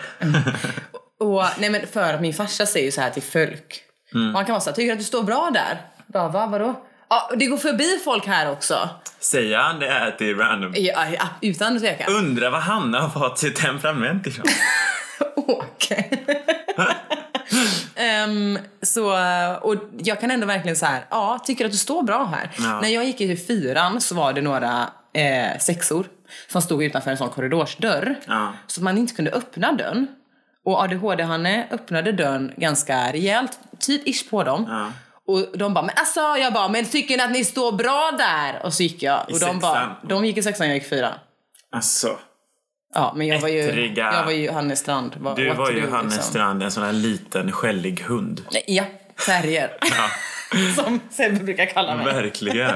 S2: Och, nej men för att min farsa säger ju så här till folk. Och han kan vara så här, tycker du att du står bra där? Bara, va, vadå? Ja, och det går förbi folk här också.
S1: Säger han det här till random?
S2: Ja, ja, utan att tveka.
S1: Undrar vad Hanna har fått sitt temperament ifrån.
S2: Okej. Ehm, så, och jag kan ändå verkligen så här, ja, tycker att du står bra här.
S1: Ja.
S2: När jag gick i fyran så var det några eh, sexor som stod utanför en sån korridorsdörr.
S1: Ja.
S2: Så att man inte kunde öppna dörren. Och ADHD-Hanne öppnade dörren ganska rejält, typ ish på dem.
S1: Ja.
S2: Och de bara, men alltså, jag bara, men tycker ni att ni står bra där? Och så gick jag.
S1: I
S2: Och de, bara,
S1: sexan?
S2: de gick i sexan, jag gick i fyran.
S1: Alltså.
S2: Ja, men jag var ju,
S1: Ettriga.
S2: jag var ju Hannes Strand. Vad-
S1: Du
S2: what
S1: var
S2: to
S1: ju
S2: do,
S1: Hannes
S2: liksom.
S1: Strand, en sån här liten skällig hund.
S2: Nej, Ja, terrier.
S1: Ja,
S2: Som Sebbe brukar kalla mig.
S1: verkligen.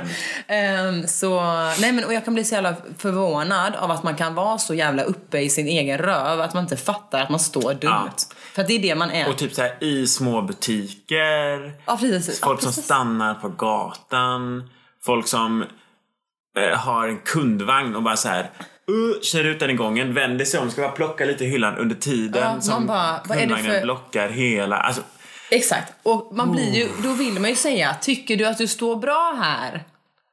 S2: Ehm, så, nej men, och jag kan bli så jävla förvånad av att man kan vara så jävla uppe i sin egen röv att man inte fattar att man står dumt.
S1: Ja.
S2: För att det är det man är.
S1: Och typ så här i små butiker,
S2: ja, precis. Ja,
S1: folk som
S2: precis.
S1: stannar på gatan, folk som eh, har en kundvagn och bara så här uh, kör ut den i gången, vänder sig om, ska bara plocka lite i hyllan under tiden
S2: Ja,
S1: som
S2: man bara, vad är det
S1: kundvagnen
S2: för-
S1: blockar hela. Alltså,
S2: Exakt. Och man blir ju,
S1: Oh.
S2: då vill man ju säga, tycker du att du står bra här?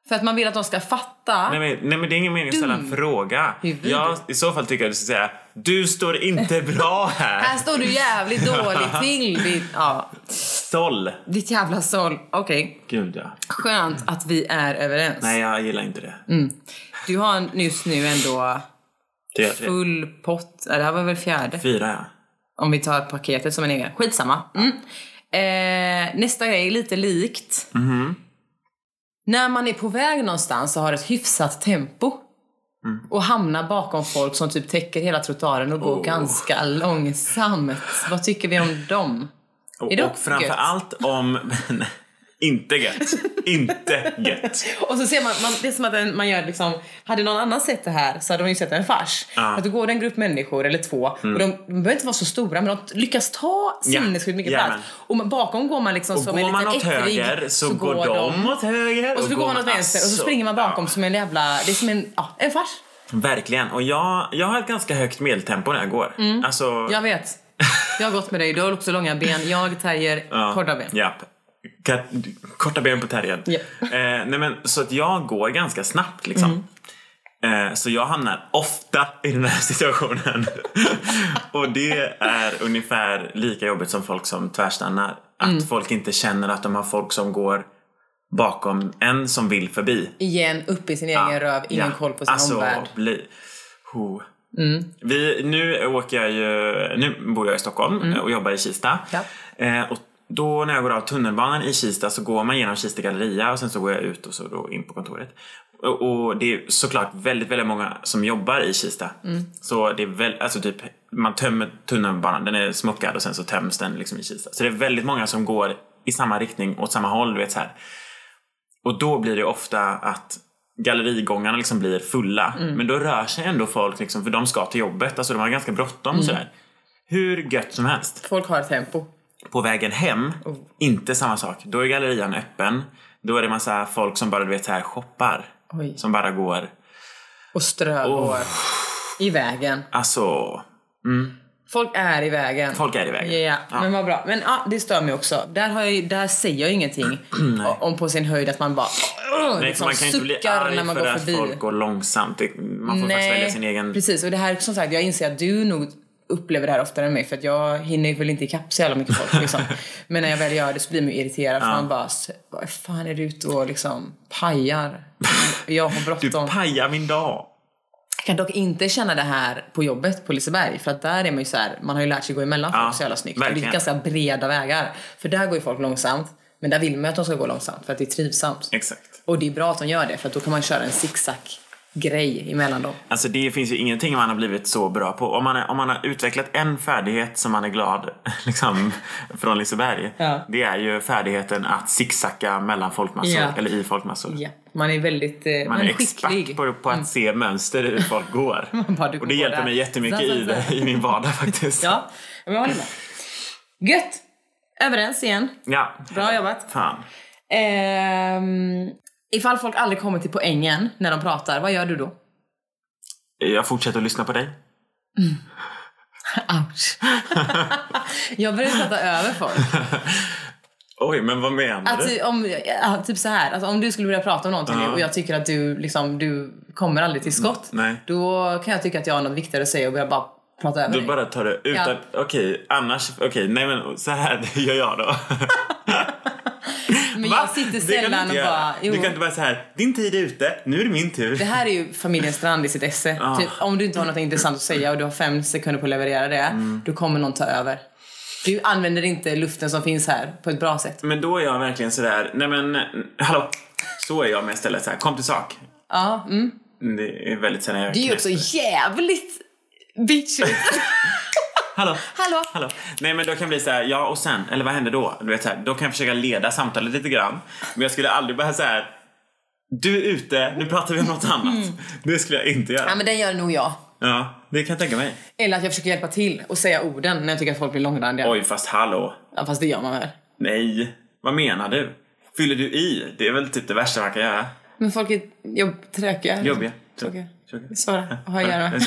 S2: För att man vill att de ska fatta.
S1: nej, men, nej men det är ingen mening att ställa en fråga.
S2: Huvud.
S1: Jag, I så fall tycker jag du ska säga du står inte bra
S2: Här
S1: här.
S2: står du jävligt dåligt till, ditt, ja,
S1: Stoll.
S2: ditt jävla sol. Okej,
S1: Gud ja.
S2: skönt att vi är överens.
S1: Nej, jag gillar inte det.
S2: Mm. Du har just nu ändå
S1: Det är det.
S2: Full pott. Ja, Det här var väl fjärde.
S1: Fyra, ja.
S2: Om vi tar paketet som en egen. Skitsamma. Mm. Eh, nästa grej är lite likt. När man är på väg någonstans och har ett hyfsat tempo och hamnar bakom folk som typ täcker hela trottoaren och går
S1: Oh.
S2: ganska långsamt. Vad tycker vi om dem?
S1: Och,
S2: Är det
S1: och
S2: också
S1: framför
S2: gött?
S1: allt om... inte gött. inte gött.
S2: Och så ser man, man det är som att en, man gör liksom, hade någon annan sett det här så hade de ju sett en fars.
S1: Ja. Mm.
S2: Att då går det en grupp människor eller två och de, de behöver inte vara så stora men de lyckas ta sinnessjukt mycket
S1: jajamän.
S2: plats. Och man, bakom går man liksom
S1: Och
S2: som
S1: går
S2: en
S1: man
S2: liten
S1: åt
S2: ettrig,
S1: höger så, går de, Alltså, åt höger.
S2: Och så går man åt vänster och så springer man bakom som en jävla, det är som en, ja, en fars.
S1: Verkligen. Och jag, jag har ett ganska högt medeltempo när jag går. Alltså...
S2: Jag vet. Mm. Jag har gått med dig, du har också långa ben, jag Terrier, korta ben.
S1: Japp. Ka- Korta ben på terriern.
S2: Ja.
S1: Eh, nej men, så att jag går ganska snabbt
S2: Mm.
S1: liksom. Eh, så jag hamnar ofta i den här situationen. och det är ungefär lika jobbigt som folk som tvärstannar. Att
S2: Mm.
S1: folk inte känner att de har folk som går bakom en som vill förbi.
S2: Igen, upp i sin Mm. egen röv, ingen koll på sin
S1: alltså,
S2: omvärld.
S1: Bli, ho. Vi, nu åker jag ju, nu bor jag i Stockholm och jobbar i Kista.
S2: Mm. Ja.
S1: Eh, och då när jag går av tunnelbanan i Kista så går man genom Kista galleria och sen så går jag ut och så då in på kontoret. Och, och det är såklart väldigt, väldigt många som jobbar i Kista.
S2: Mm.
S1: Så det är väl, alltså typ, man tömmer tunnelbanan, den är smockad och sen så töms den liksom i Kista. Så det är väldigt många som går i samma riktning, åt samma håll, du vet så här. Och då blir det ofta att gallerigångarna liksom blir fulla.
S2: Mm.
S1: Men då rör sig ändå folk liksom, för de ska till jobbet. Alltså de har ganska bråttom
S2: Mm.
S1: och sådär. Hur gött som helst.
S2: Folk har tempo.
S1: På vägen hem,
S2: Oh.
S1: inte samma sak. Då är gallerian öppen. Då är det massa folk som bara du vet så här shoppar.
S2: Oj.
S1: Som bara går.
S2: Och strövår. I vägen.
S1: Alltså,
S2: Folk är i vägen.
S1: folk är i vägen.
S2: Ja, ja, men vad bra. Men ja, det stör mig också. Där, har jag, ju- där säger jag ingenting o- om på sin höjd att man bara
S1: Nej, för man kan ju inte bli arg
S2: liksom när man
S1: för
S2: går
S1: att
S2: förbi.
S1: folk går långsamt. Det- Man får faktiskt välja sin egen...
S2: precis. Och det här, som sagt, jag inser att du nog upplever det här oftare än mig för att jag hinner ju väl inte ikapp så jävla mycket folk liksom. Men när jag väl gör det så blir man ju irriterad för man bara, s- vad fan är du ute och liksom pajar? Jag har
S1: Du
S2: bråttom.
S1: pajar min dag.
S2: Jag kan dock inte känna det här på jobbet på Liseberg för att där är man ju så här, man har ju lärt sig gå emellan folk
S1: Ja,
S2: så jävla snyggt. Och det
S1: verkligen.
S2: är ganska breda vägar. För där går ju folk långsamt. Men där vill man ju att de ska gå långsamt för att det är trivsamt.
S1: Exakt.
S2: Och det är bra att de gör det för att då kan man köra en zigzag grej emellan dem.
S1: Alltså det finns ju ingenting man har blivit så bra på. Om man, är, om man har utvecklat en färdighet som man är glad liksom, från Liseberg.
S2: Ja.
S1: Det är ju färdigheten att zigzacka mellan folkmassor.
S2: Ja.
S1: Eller i folkmassor.
S2: Ja, man är väldigt eh,
S1: Man är expert
S2: skicklig. Mm.
S1: på, på att se mönster i hur folk går.
S2: bara, du
S1: och
S2: går
S1: det hjälper
S2: där.
S1: mig jättemycket
S2: Så, så,
S1: i, det,
S2: så.
S1: i min vardag faktiskt.
S2: Ja, men jag håller med. Gött! Överens igen.
S1: ja.
S2: Bra jobbat.
S1: Fan.
S2: Ehm, ifall folk aldrig kommer till poängen när de pratar, vad gör du då?
S1: Jag fortsätter att lyssna på dig.
S2: Ouch. jag börjar prata över folk.
S1: Oj, men vad menar
S2: Att,
S1: du?
S2: ty- om, ja, typ så här, alltså, om du skulle vilja prata om någonting nu och jag tycker att du, liksom, du kommer aldrig till skott.
S1: Mm, Nej.
S2: Då kan jag tycka att jag har något viktigare att säga och börja bara prata över
S1: Då
S2: dig.
S1: bara tar du utan... Okej, annars... Okej, nej men så här gör jag då.
S2: Men
S1: Va?
S2: jag sitter
S1: Det
S2: sällan
S1: kan du
S2: och
S1: inte göra.
S2: bara... Jo,
S1: Du kan inte bara så här, din tid är ute, nu är det min tur.
S2: Det här är ju familjen Strand i sitt esse.
S1: Ah.
S2: Typ, om du inte har något intressant att säga och du har fem sekunder på att leverera det,
S1: Mm.
S2: då kommer någon ta över. Du använder inte luften som finns här på ett bra sätt.
S1: Men då är jag verkligen sådär, nej men hallå. Så är jag med istället, så här, kom till sak.
S2: Ja, mm.
S1: Det är väldigt sällan jag
S2: Det är ju
S1: knäpper.
S2: också jävligt bitchigt.
S1: Hallå.
S2: Hallå.
S1: Hallå. Nej men då kan det bli så här, ja och sen, eller vad händer då? Du vet så här, då kan jag försöka leda samtalet lite grann. Men jag skulle aldrig bara så här. du är ute, nu pratar vi om något annat. Det skulle jag inte
S2: Mm. Ja,
S1: göra.
S2: men den gör nog jag.
S1: Ja, det kan jag tänka mig.
S2: Eller att jag försöker hjälpa till och säga orden när jag tycker att folk blir långrandiga.
S1: Oj, fast hallå.
S2: Ja, fast det gör man väl.
S1: Nej, vad menar du? Fyller du i? Det är väl typ det värsta man kan göra.
S2: Men folk är jobb, tråkiga.
S1: Jobbiga.
S2: Tråkiga.
S1: Tråkiga.
S2: Svara. Vad har jag att göra med?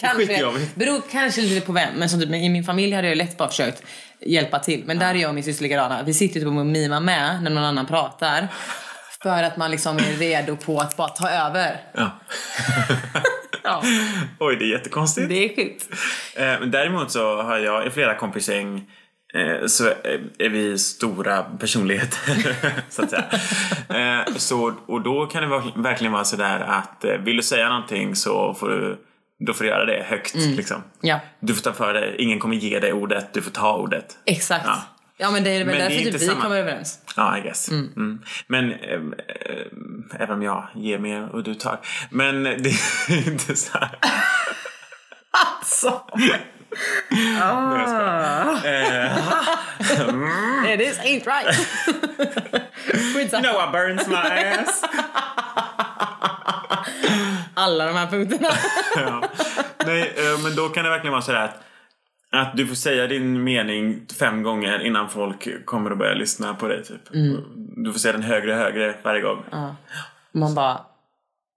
S2: Kanske,
S1: Skitjobbigt.
S2: beror kanske lite på vem, men som typ, i min familj hade jag lätt bara försökt hjälpa till. Men där är jag och min syster likadana. Vi sitter ju typ och mimar med när någon annan pratar. För att man liksom är redo på att bara ta över.
S1: Ja.
S2: Ja,
S1: Oj, det är jättekonstigt.
S2: det är skit.
S1: Eh, men däremot så har jag i flera kompisgäng eh, så eh, är vi stora personligheter, så att säga. Eh, så, och då kan det verk- verkligen vara sådär att eh, vill du säga någonting så får du, då får du göra det högt. Liksom.
S2: Ja,
S1: Du får ta för dig, ingen kommer ge dig ordet, du får ta ordet.
S2: exakt.
S1: Ja.
S2: Ja, men det är väl
S1: Men det är
S2: därför
S1: inte
S2: typ vi
S1: samma-
S2: kommer överens.
S1: Ja, I guess. Mm. Men ehm, ehm, även om jag ger mer och du tar. Men det är inte så här.
S2: Så.
S1: Nej, jag skojar. Eh,
S2: It is ain't right. Skitsamma.
S1: Noah burns my ass.
S2: Alla de här punkterna.
S1: ja. Nej, eh, men då kan det verkligen vara sådär att, att du får säga din mening fem gånger innan folk kommer att börja lyssna på dig. Typ. Du får säga den högre och högre varje gång.
S2: Man bara,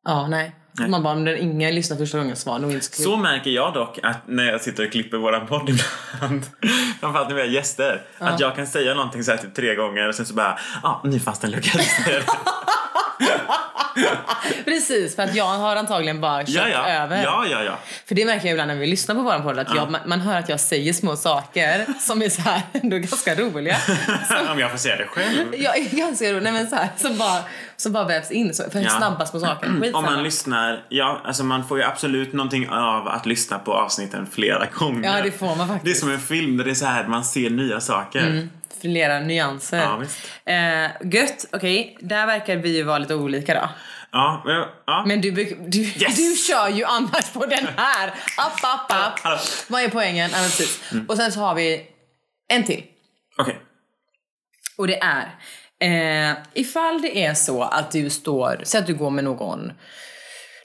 S2: ja nej. Man bara, om den ingen lyssnar första gången så var det nog inte så kul.
S1: Så märker jag dock att när jag sitter och klipper våran podd ibland, framförallt när vi har gäster, att jag kan säga någonting så här typ tre gånger och sen så bara, ja, ah, nu fanns det en lucka.
S2: Precis, för att jag har antagligen bara kört
S1: Ja, ja.
S2: över.
S1: Ja, ja, ja.
S2: För det märker jag ibland när vi lyssnar på våran podd att jag, man, man hör att jag säger små saker som är så här ändå ganska roliga.
S1: Om jag får säga det själv.
S2: Jag är ganska rolig, nej men så här, som bara, som bara vävs in. Så, för
S1: Ja.
S2: snabba små saker.
S1: Om
S2: Skitsamma.
S1: man lyssnar, ja alltså man får ju absolut någonting av att lyssna på avsnitten flera gånger.
S2: Ja, det får man
S1: Det är
S2: faktiskt. Mm.
S1: som en film där det är så här man ser nya saker.
S2: Flera nyanser.
S1: Ja, visst.
S2: Eh, gött, okej. Där verkar vi ju vara lite olika då.
S1: Ja, men- ja.
S2: Men du, bruk- du, du kör ju annars på den här. App, app, app.
S1: Hallå. Mm.
S2: Vad är poängen? Ja, men precis. Och sen så har vi en till.
S1: Okej.
S2: Och det är eh, ifall det är så att du står, säg att du går med någon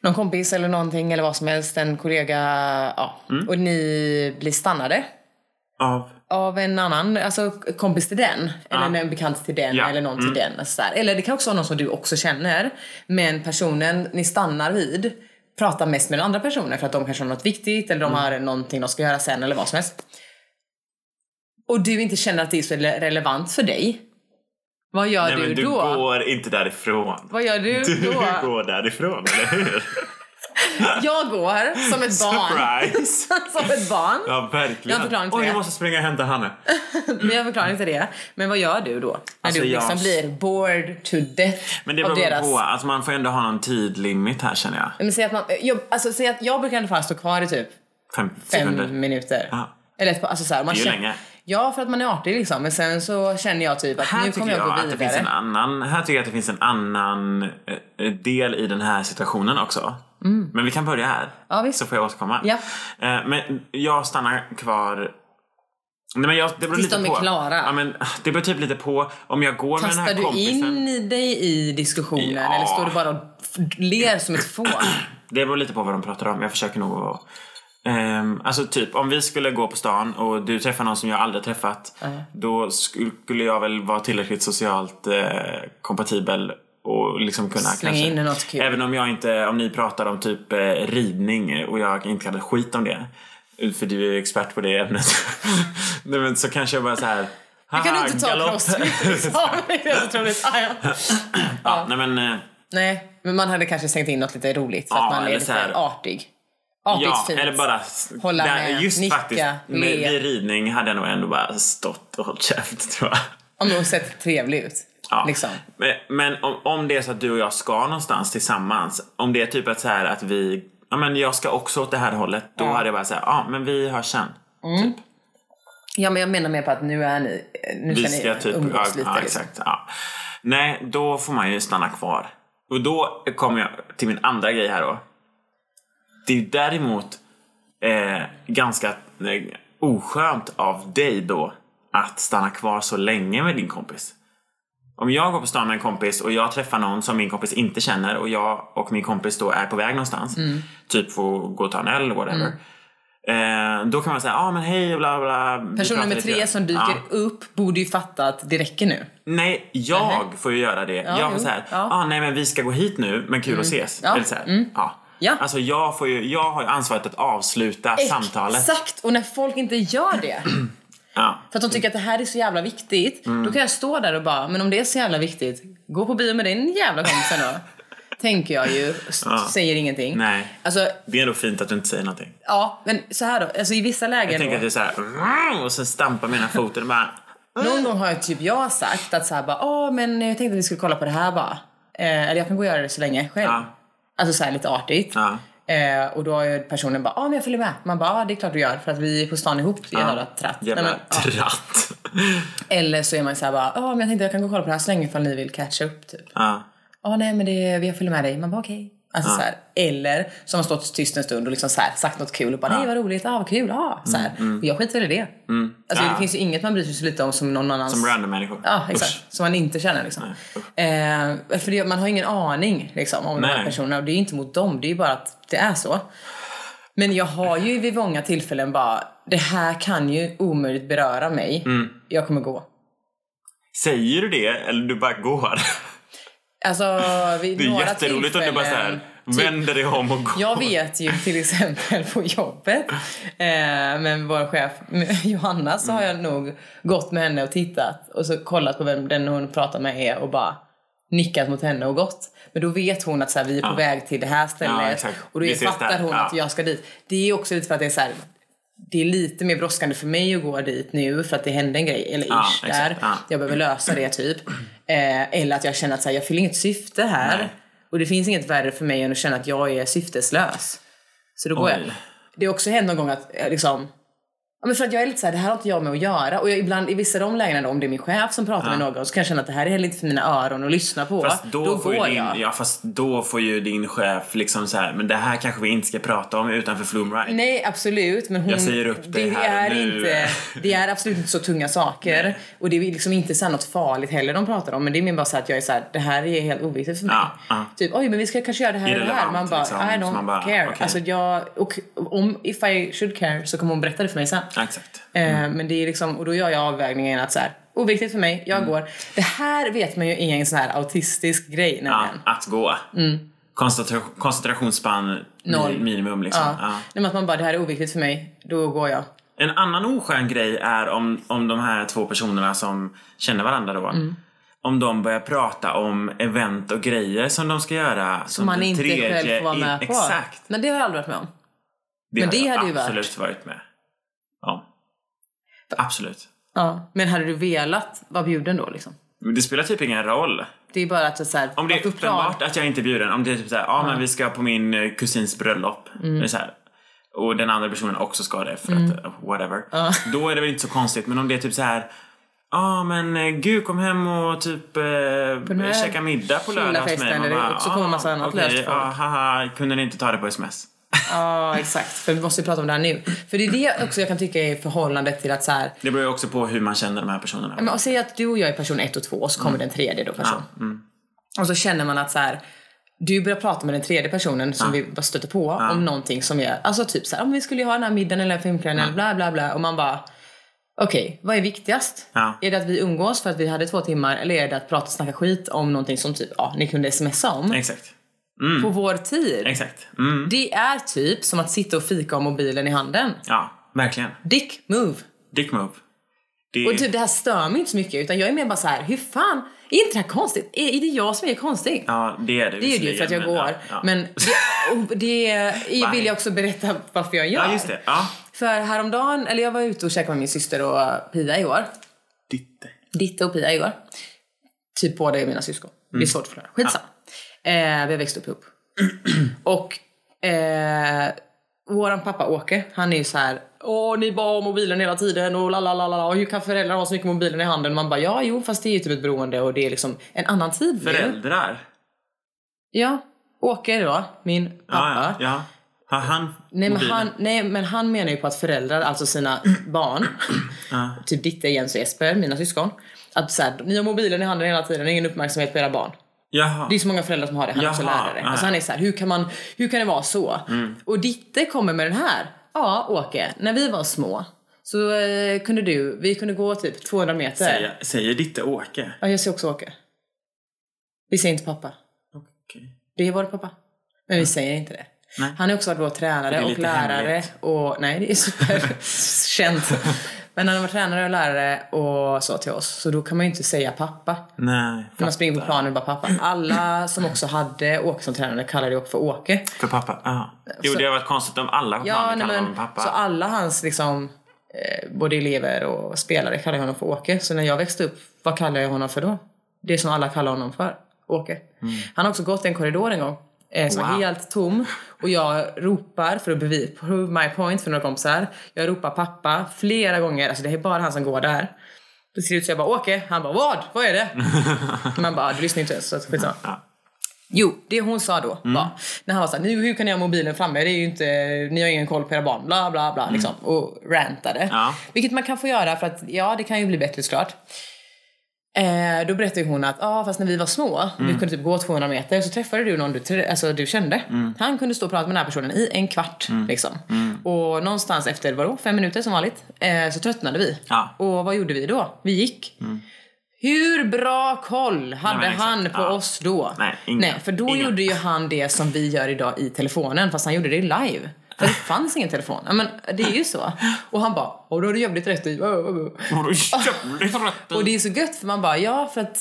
S2: någon kompis eller någonting eller vad som helst, en kollega, ja. Och ni blir stannade
S1: Av.
S2: av en annan, alltså kompis till den. Eller en bekant till den
S1: Ja. Mm.
S2: eller någon till den. Alltså sådär. eller det kan också vara någon som du också känner. Men personen ni stannar vid pratar mest med den andra personen för att de kanske har något viktigt eller
S1: Mm.
S2: de har någonting de ska göra sen eller vad som helst. Och du inte känner att det är så rele- relevant för dig. Vad gör
S1: Nej
S2: du,
S1: men du
S2: då?
S1: går inte därifrån.
S2: Vad gör du,
S1: Du
S2: då?
S1: går därifrån, eller hur?
S2: Jag går som ett barn.
S1: Surprise!
S2: som ett barn.
S1: Ja,
S2: Jag
S1: verkligen.
S2: har förklaring till
S1: Oj,
S2: det.
S1: jag måste springa och hämta Hanne.
S2: Men jag förklarar inte det. Men vad gör du då? När
S1: Alltså,
S2: du
S1: jag-
S2: liksom blir bored to death
S1: Men det
S2: av
S1: beror
S2: deras...
S1: på. Alltså, man får ändå ha någon tidlimit här känner jag.
S2: Men säg att man, jag, alltså, säg att jag brukar i alla fall stå kvar i typ
S1: Fem
S2: fem
S1: sekunder.
S2: minuter.
S1: Ja.
S2: Eller ett par- alltså, så här, man
S1: Det är ju
S2: känner-
S1: länge.
S2: Ja, för att man är artig liksom. Men sen så känner jag typ att
S1: Här
S2: nu
S1: tycker
S2: kommer
S1: jag,
S2: jag, gå
S1: att det finns en
S2: vidare.
S1: annan, här tycker jag att det finns en annan eh, eh, del i den här situationen också. Men vi kan börja här.
S2: Mm. Ja, visst.
S1: Så får jag återkomma.
S2: Ja.
S1: Eh, Men jag stannar kvar Nej, men jag, det beror
S2: Tills
S1: lite
S2: de är
S1: på.
S2: klara.
S1: Ja, men, det beror typ lite på om jag går med
S2: Kastar
S1: den här
S2: du
S1: kompisen.
S2: in i dig i diskussionen
S1: Ja.
S2: eller står du bara och f- ler som ett fån?
S1: Det beror lite på vad de pratar om. Jag försöker nog att... Ehm, alltså typ om vi skulle gå på stan och du träffar någon som jag aldrig träffat. Då sk- skulle jag väl vara tillräckligt socialt eh, kompatibel och liksom kunna
S2: Slänga
S1: kanske.
S2: in något kul.
S1: Även om jag inte, om ni pratar om typ eh, ridning och jag inte kan ett skit om det. För du är ju expert på det ämnet. Nej men så kanske jag bara så här.
S2: Jag kan
S1: "Haha,
S2: inte ta
S1: galopp."
S2: crossfit liksom. Det är så otroligt. Ah, ja.
S1: ja, nej men. eh,
S2: Nej, men man hade kanske slängt in något lite roligt för
S1: Ja,
S2: att man är
S1: eller så
S2: lite
S1: här-
S2: artig. Artigt
S1: Ja,
S2: fint.
S1: eller bara
S2: Hålla
S1: där,
S2: med,
S1: just
S2: nicka,
S1: faktiskt, med,
S2: le.
S1: vid ridning hade jag nog ändå bara stått och hållit käft tror jag.
S2: Om du har sett trevlig ut.
S1: Ja.
S2: Liksom.
S1: Men, men om, om det är så att du och jag ska någonstans tillsammans, om det är typ att så här att vi, ja men jag ska också åt det här hållet, då hade jag bara såhär, ja men vi hörs sen.
S2: Ja, men jag menar mer på att nu är ni... eh, Nu
S1: Vi
S2: ska ni
S1: ska typ, ja,
S2: umgås lite.
S1: ja,
S2: liksom.
S1: exakt. Ja. Nej, då får man ju stanna kvar. Och då kommer jag till min andra grej här då. Det är ju däremot eh, ganska eh, oskönt av dig då att stanna kvar så länge med din kompis. Om jag går på stan med en kompis och jag träffar någon som min kompis inte känner och jag och min kompis då är på väg någonstans.
S2: Mm.
S1: Typ får gå och ta en öl whatever. Eh, då kan man säga, ja ah, men hej bla bla. vi
S2: Person
S1: pratar
S2: nummer
S1: lite
S2: tre
S1: grann."
S2: som dyker
S1: Ja.
S2: upp borde ju fatta att det räcker nu.
S1: Nej, jag får ju göra det. jag får
S2: jo,
S1: säga,
S2: ja. Mm.
S1: ah, nej men vi ska gå hit nu, men kul att ses.
S2: Ja, Mm.
S1: Eller så här, ja.
S2: Ja.
S1: Alltså jag, får ju, jag har ju ansvaret att avsluta samtalet.
S2: Exakt! Och när folk inte gör det,
S1: Ja.
S2: för att de tycker att det här är så jävla viktigt, då kan jag stå där och bara, men om det är så jävla viktigt, gå på bio med din jävla kompis då. Tänker jag ju, s- säger ingenting.
S1: Nej.
S2: Alltså,
S1: Det är ändå fint att du inte säger någonting.
S2: ja, men så här då, alltså i vissa lägen
S1: Jag tänker
S2: då,
S1: att det är så här, och sen stampar mina foten och bara,
S2: Någon gång har ju typ jag sagt att så här bara, åh men jag tänkte att vi skulle kolla på det här bara. Eh, eller jag kan gå och göra det så länge själv.
S1: Ja.
S2: Alltså så här lite artigt.
S1: ja.
S2: Eh, och då har ju personen bara, ja men jag följer med. Man bara, ja det är klart du gör för att vi är på stan ihop, vi har ett tratt. Nej,
S1: Jävla
S2: men, ja.
S1: tratt.
S2: Eller så är man ju så här bara, ja men jag tänkte jag kan gå och kolla på det här så länge ifall ni vill catcha upp typ.
S1: Ja.
S2: Ja nej men det, vi har följer med dig. Man bara okej. Alltså så här, eller som har stått tyst en stund och liksom så här, sagt något kul och bara nej vad roligt, ah vad kul, ah. Så här. Och jag skiter väl i det. Alltså
S1: Mm, Ja.
S2: det finns ju inget man bryr sig så lite om som någon annans.
S1: Som random människor.
S2: Ja, exakt.
S1: Usch.
S2: Som man inte känner liksom. Eh, för det, man har ingen aning liksom, om de
S1: Nej.
S2: här personerna och det är inte mot dem, det är ju bara att det är så. Men jag har ju vid många tillfällen bara, det här kan ju omöjligt beröra mig.
S1: Mm.
S2: Jag kommer gå.
S1: Säger du det eller du bara går?
S2: Alltså vid
S1: Det är
S2: några
S1: jätteroligt om du bara så här,
S2: tillfällen- typ-
S1: vänder dig om och går.
S2: Jag vet ju till exempel på jobbet eh, med vår chef med Johanna så
S1: Mm.
S2: har jag nog gått med henne och tittat och så kollat på vem den hon pratar med är och bara nickat mot henne och gått. Men då vet hon att så här, vi är på väg till det här
S1: Ja,
S2: stället
S1: exakt.
S2: och då
S1: Vi ses
S2: fattar
S1: där.
S2: hon
S1: Ja.
S2: att jag ska dit. Det är också lite för att det är så här, det är lite mer brådskande för mig att gå dit nu för att det hände en grej, eller
S1: Ja,
S2: ish,
S1: exakt.
S2: där.
S1: Ja.
S2: Jag behöver lösa det typ. Eh, eller att jag känner att så här, jag fyller inget syfte här.
S1: Nej.
S2: Och det finns inget värre för mig än att känna att jag är syfteslös. Så då går
S1: Oj.
S2: jag. Det har också hänt någon gång att eh, liksom Ja, men för att jag är lite så här, det här har inte jag med att göra. Och jag, ibland i vissa av de lägena då, om det är min chef som pratar med någon så kan jag känna att det här är heller inte för mina öron att lyssna på.
S1: Fast då, får ju
S2: går
S1: din,
S2: jag.
S1: ja, fast då får ju din chef liksom så här, men det här kanske vi inte ska prata om utanför Flumride.
S2: Nej, absolut. Men hon,
S1: Jag säger upp dig
S2: det
S1: här
S2: är
S1: och nu.
S2: Inte, det är absolut inte så tunga saker. Och det är liksom inte så här något farligt heller de pratar om. Men det är mer bara så här att jag är så här, det här är helt oviktigt för mig.
S1: Ja, ja.
S2: Typ, oj men vi ska kanske göra det här och det här.
S1: Irrelevant,
S2: Man bara,
S1: liksom.
S2: I
S1: Så
S2: don't
S1: man bara,
S2: care.
S1: okej.
S2: Alltså jag, och om, if I should care så kommer hon berätta det för mig sen.
S1: Ja, exakt.
S2: Eh, Men det är liksom, och då gör jag avvägningen att så här, oviktigt för mig,
S1: Mm.
S2: jag går. Det här vet man ju är en sån här autistisk grej
S1: Ja,
S2: nämligen.
S1: att gå. Koncentra- koncentrationsspann
S2: Mm. Noll.
S1: mi- minimum liksom.
S2: Ja.
S1: Ja.
S2: Nej, men att man bara, det här är oviktigt för mig, då går jag.
S1: En annan oskön grej är om, om de här två personerna som känner varandra då.
S2: Mm.
S1: Om de börjar prata om event och grejer som de ska göra. Som,
S2: man
S1: den
S2: inte själv får vara
S1: i-
S2: med på.
S1: Exakt.
S2: Men det har jag aldrig varit med om.
S1: Det
S2: Men det
S1: har jag
S2: hade ju varit-
S1: absolut varit med. Ja. Absolut.
S2: Ja. Men hade du velat vara bjuden då liksom?
S1: Men det spelar typ ingen roll.
S2: Det är bara att det är så här,
S1: Om det är
S2: varför plan-
S1: uppenbart att jag inte är bjuden. Om det är typ såhär, ja ah, men vi ska på min eh, kusins bröllop.
S2: Mm.
S1: Det är så här, och den andra personen också ska det för att eh, whatever. Då är det väl inte så konstigt. Men om det är typ så här. Ja ah, men eh, gud kom hem och typ eh,
S2: här
S1: käka middag på
S2: fulla
S1: lördag hos mig.
S2: festen
S1: Man
S2: där det
S1: bara,
S2: också kommer massa annat
S1: okej,
S2: löst folk.
S1: ah, haha, kunde ni inte ta det på sms?
S2: Ja exakt, för vi måste ju prata om det här nu. För det är det också jag kan tycka är förhållandet till att så här,
S1: Det beror ju också på hur man känner de här personerna.
S2: Men, och säg att du och jag är person ett och två och så kommer
S1: Mm.
S2: den tredje då person. Och så känner man att så här. Du börjar prata med den tredje personen som vi bara stöter på om någonting som är, alltså typ så här, om vi skulle ju ha den här middagen eller filmkvällen eller bla bla bla och man bara Okej, vad är viktigast?
S1: Ja.
S2: Är det att vi umgås för att vi hade två timmar eller är det att prata och snacka skit om någonting som typ, ja, ni kunde smsa om
S1: Exakt.
S2: på vår tid?
S1: Exakt. Mm.
S2: Det är typ som att sitta och fika och mobilen i handen.
S1: Ja, verkligen.
S2: Dick move!
S1: Dick move. Det,
S2: Och typ det här stör mig inte så mycket utan jag är mer bara så här, hur fan, är inte det här konstigt? Är, är det jag som är konstig?
S1: ja, det är det
S2: det är det ju för att jag
S1: visserligen,
S2: går.
S1: men ja, ja.
S2: Men det, och det vill jag också berätta varför jag gör.
S1: Ja, just det. Ja.
S2: För häromdagen, eller jag var ute och käkade med min syster och Pia igår.
S1: Ditte.
S2: Ditte och Pia igår. Typ båda är mina syskon.
S1: Mm.
S2: Det är svårt att förklara. Skitsamma. Eh, vi har växt upp ihop. och eh, våran pappa Åke, han är ju så här. Åh, ni bara har mobilen hela tiden och la la la la, la. Hur kan föräldrar ha så mycket mobilen i handen? Man bara, ja, jo, fast det är ju typ ett beroende och det är liksom en annan tid nu.
S1: Föräldrar?
S2: Ja. Åke då, min pappa.
S1: Ja, ja. ja. Har han
S2: Nej men,
S1: mobilen?
S2: han, nej men han menar ju på att föräldrar, alltså sina barn, typ Ditte, Jens och Jesper, mina syskon, att så här, ni har mobilen i handen hela tiden, ingen uppmärksamhet på era barn.
S1: Jaha.
S2: Det är så många föräldrar som har det, han är också
S1: Jaha,
S2: lärare.
S1: ja. Mm.
S2: Alltså han är så här, hur kan, man, hur kan det vara så? Och Ditte kommer med den här. Ja, Åke, när vi var små så eh, kunde du, vi kunde gå typ 200 meter.
S1: Säger, säger Ditte Åke?
S2: Ja, jag ser också Åke. Vi säger inte pappa.
S1: Okej.
S2: Det är vår pappa. Men vi säger inte det.
S1: Nej.
S2: Han har också varit vår tränare
S1: är
S2: och
S1: lite
S2: lärare.
S1: hemligt.
S2: Och, nej, det är superkänt. Men han har varit tränare och lärare och så till oss. Så då kan man ju inte säga pappa.
S1: Nej.
S2: När man springer på planen och bara pappa. Alla som också hade Åke som tränare kallade ju Åke för Åke.
S1: För pappa? Ja. Jo,
S2: Så-
S1: det har varit konstigt om alla på
S2: Ja,
S1: planen
S2: nej,
S1: kallar
S2: men,
S1: honom pappa.
S2: så alla hans liksom, eh, både elever och spelare kallade honom för Åke. Så när jag växte upp, vad kallade jag honom för då? Det som alla kallar honom för, Åke. Han har också gått i en korridor en gång eh, som var
S1: Mm. Wow.
S2: helt tom och jag ropar för att bevisa, prove my point för några kompisar. Jag ropar pappa flera gånger, alltså det är bara han som går där. Till slut så jag bara Åke, han bara vad? Vad är det? Man bara, "Ah, du lyssnar inte ens så att skitsamma.
S1: Ja.
S2: Jo, det hon sa då var, när han var såhär, nu hur kan ni ha mobilen framme? Det är ju inte, ni har ingen koll på era barn, bla bla bla liksom. Och rantade.
S1: Ja.
S2: Vilket man kan få göra för att, ja det kan ju bli bättre såklart. Eh, då berättade ju hon att, ja ah, fast när vi var små, vi kunde typ gå 200 meter, så träffade du någon du, trä- alltså, du kände. Han kunde stå och prata med den här personen i en kvart liksom. Och någonstans efter, vadå, fem minuter som vanligt, eh, så tröttnade vi.
S1: Ja. Mm.
S2: Och vad gjorde vi då? Vi gick. Hur bra koll hade
S1: Nej, men exakt.
S2: han på
S1: Ja.
S2: oss då?
S1: Nej, ingen.
S2: Nej, för då
S1: Ingen.
S2: gjorde ju han det som vi gör idag i telefonen, fast han gjorde det live. För det fanns ingen telefon. Ja, men det är ju så. Och han bara, och då har du jävligt rätt i.
S1: Och då jävligt rätt i.
S2: Och det är så gött för man bara, ja för att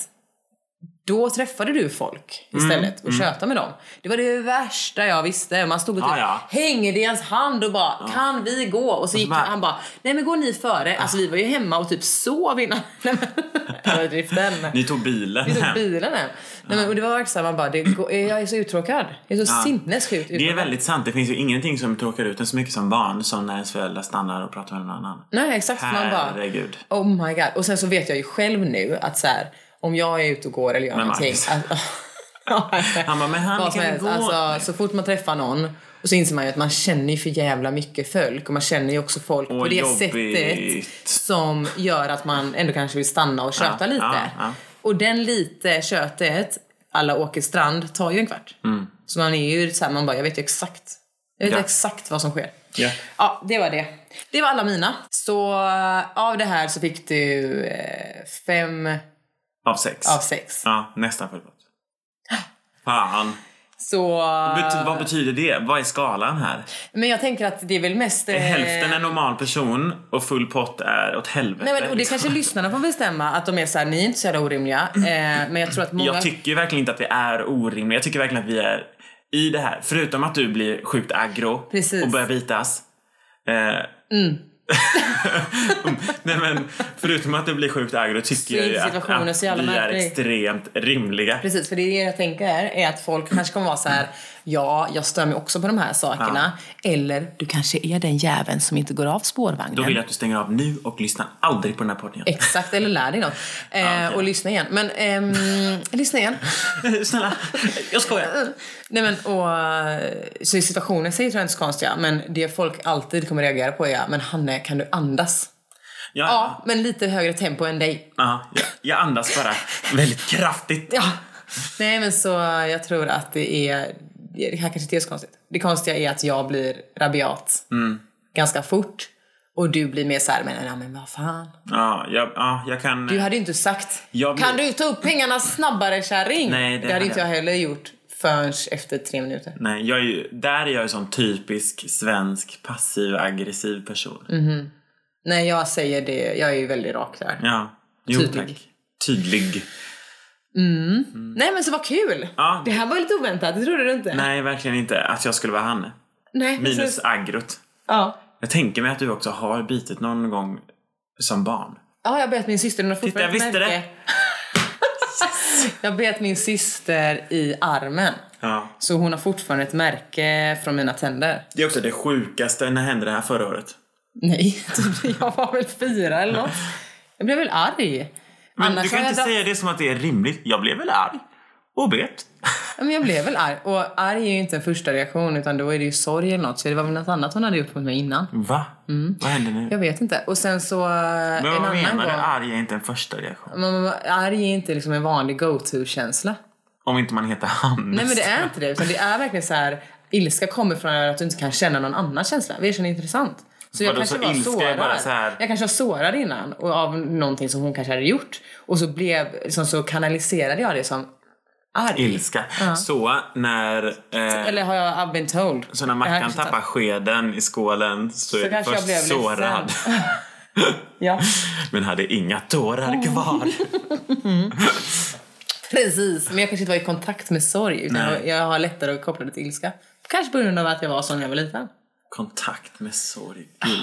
S2: Då träffade du folk istället
S1: Mm.
S2: och tjötade med dem. Det var det värsta jag visste. Man stod och typ
S1: Ja, ja. Alltså,
S2: hängde i hans hand och bara “kan vi gå?” och så gick
S1: bara-
S2: han bara “nej men går ni före?” Alltså vi var ju hemma och typ sov innan. Nej, men- Överdriften.
S1: Ni tog bilen
S2: Vi tog
S1: hem.
S2: bilen hem. Nej, men, och det var verkligen såhär, man bara, det går, jag är så uttråkad. Jag är så sinnessjukt
S1: Det är
S2: uttråkad.
S1: väldigt sant. Det finns ju ingenting som tråkar ut en så mycket som barn som när ens föräldrar stannar och pratar med någon annan.
S2: Nej exakt, man bara,
S1: Herregud.
S2: oh my god. Och sen så vet jag ju själv nu att så här, om jag är ute och går eller gör
S1: Med
S2: någonting.
S1: Marcus.
S2: Att,
S1: Han bara, "Men han
S2: Vad som
S1: kan
S2: helst.
S1: gå."
S2: Alltså, så fort man träffar någon och så inser man ju att man känner ju för jävla mycket folk och man känner ju också folk på
S1: Och
S2: det
S1: jobbigt.
S2: sättet som gör att man ändå kanske vill stanna och köta
S1: Ja,
S2: lite.
S1: ja, ja.
S2: Och den lite kötet, alla åker strand, tar ju en kvart. Så man är ju så här, man bara, jag vet ju exakt. Jag vet
S1: Mm. Ja.
S2: exakt vad som sker.
S1: Ja.
S2: Ja, det var det. Det var alla mina. Så eh, av det här så fick du eh, fem
S1: Av sex.
S2: av sex.
S1: Ja, nästan fullgott. Fan.
S2: Så...
S1: Bet- vad betyder det? Vad är skalan här?
S2: Men jag tänker att det är väl mest... eh,
S1: Hälften är normal person och full pott är åt helvete.
S2: Nej, men, och det
S1: liksom.
S2: kanske lyssnarna får bestämma att de är såhär, ni är inte så jävla orimliga. Eh, men jag tror att många...
S1: Jag tycker verkligen inte att vi är orimliga. Jag tycker verkligen att vi är i det här. Förutom att du blir sjukt aggro
S2: Precis. Mm.
S1: och börjar bitas. Eh. Nej men förutom att du blir sjukt aggro tycker jag ju
S2: är
S1: att,
S2: situationen
S1: att
S2: så jävla
S1: vi är
S2: märklig.
S1: extremt rimliga.
S2: Precis, för det är det jag tänker är, är att folk kanske kommer vara så här: ja, jag stör mig också på de här sakerna. Eller, du kanske är den jäveln som inte går av spårvagnen.
S1: Då vill jag att du stänger av nu och lyssnar aldrig på den här podden igen.
S2: Exakt, eller lär dig något. Eh,
S1: okej.
S2: Och lyssna igen. Men, ehm, lyssna igen.
S1: Snälla, jag skojar.
S2: Nej men och, eh, så i situationen säger tror jag inte så konstiga, men det folk alltid kommer reagera på är, men Hanne kan du andas?
S1: Ja,
S2: Ja, men lite högre tempo än dig.
S1: ja. jag, jag andas bara väldigt kraftigt.
S2: Ja. Nej men så jag tror att det är, det här kanske inte är så konstigt. Det konstiga är att jag blir rabiat
S1: Mm.
S2: ganska fort och du blir mer såhär, men, ja, men vad fan.
S1: Ja, jag, ja, jag kan...
S2: Du hade ju inte sagt,
S1: Jag blir-
S2: kan du ta upp pengarna snabbare kärring?
S1: Nej, det
S2: det hade
S1: hade
S2: inte jag heller gjort förrän efter tre minuter.
S1: Nej, jag är ju, där är jag en sån typisk svensk passiv aggressiv person.
S2: Mm. Nej jag säger det, jag är ju väldigt rak där.
S1: Ja, jo
S2: Tydlig.
S1: tack. Tydlig.
S2: Nej men så vad kul!
S1: Ja.
S2: Det här var ju lite oväntat, det trodde du inte?
S1: Nej, verkligen inte att jag skulle vara han.
S2: Nej,
S1: Minus
S2: precis.
S1: aggrot.
S2: Ja.
S1: Jag tänker mig att du också har bitit någon gång som barn.
S2: Ja, jag bet min syster. Hon har
S1: Titta, jag
S2: fortfarande ett
S1: visste
S2: märke. jag bet min syster i armen.
S1: Ja.
S2: Så hon har fortfarande ett märke från mina tänder.
S1: Det är också det sjukaste. När hände det här förra året?
S2: Nej, typ, jag var väl fyra eller något. Jag blev väl arg.
S1: Men
S2: Annars
S1: du kan
S2: har
S1: inte
S2: jag dra-
S1: säga det som att det är rimligt. Jag blev väl arg. Och bet.
S2: Ja, Men jag blev väl arg. Och arg är ju inte en första reaktion utan då är det ju sorg eller något. Så det var väl något annat hon hade gjort mot mig innan.
S1: Va? Vad hände nu?
S2: Mm. Jag vet inte. Och sen så eh,
S1: Men
S2: en
S1: vad
S2: annan
S1: menar du?
S2: gång.
S1: Arg är inte en första reaktion.
S2: Men Arg är inte liksom en vanlig go-to-känsla.
S1: Om inte man heter Hannes.
S2: Nej men det är inte det. Utan det är verkligen så här. Ilska kommer från att du inte kan känna någon annan känsla. Det är intressant. Så jag
S1: Vadå,
S2: kanske
S1: så
S2: var
S1: ilska är
S2: sårad.
S1: bara så här-
S2: Jag kanske var sårad innan och av någonting som hon kanske hade gjort. Och så blev, liksom, så kanaliserade jag det som arg.
S1: ilska. Så när, eh,
S2: Eller har jag I've been told?
S1: så när
S2: Det här
S1: Mackan
S2: kanske
S1: tappar
S2: tar-
S1: skeden i skålen så, är det
S2: kanske jag
S1: först
S2: blev
S1: sårad.
S2: ledsen. Ja,
S1: Men hade inga
S2: Mm.
S1: tårar kvar.
S2: precis. Men jag kanske inte var i kontakt med sorg. Utan
S1: Nej.
S2: jag jag har lättare att koppla det till ilska. Kanske på grund av att jag var sån när jag var liten.
S1: Kontakt med sorg. Gud.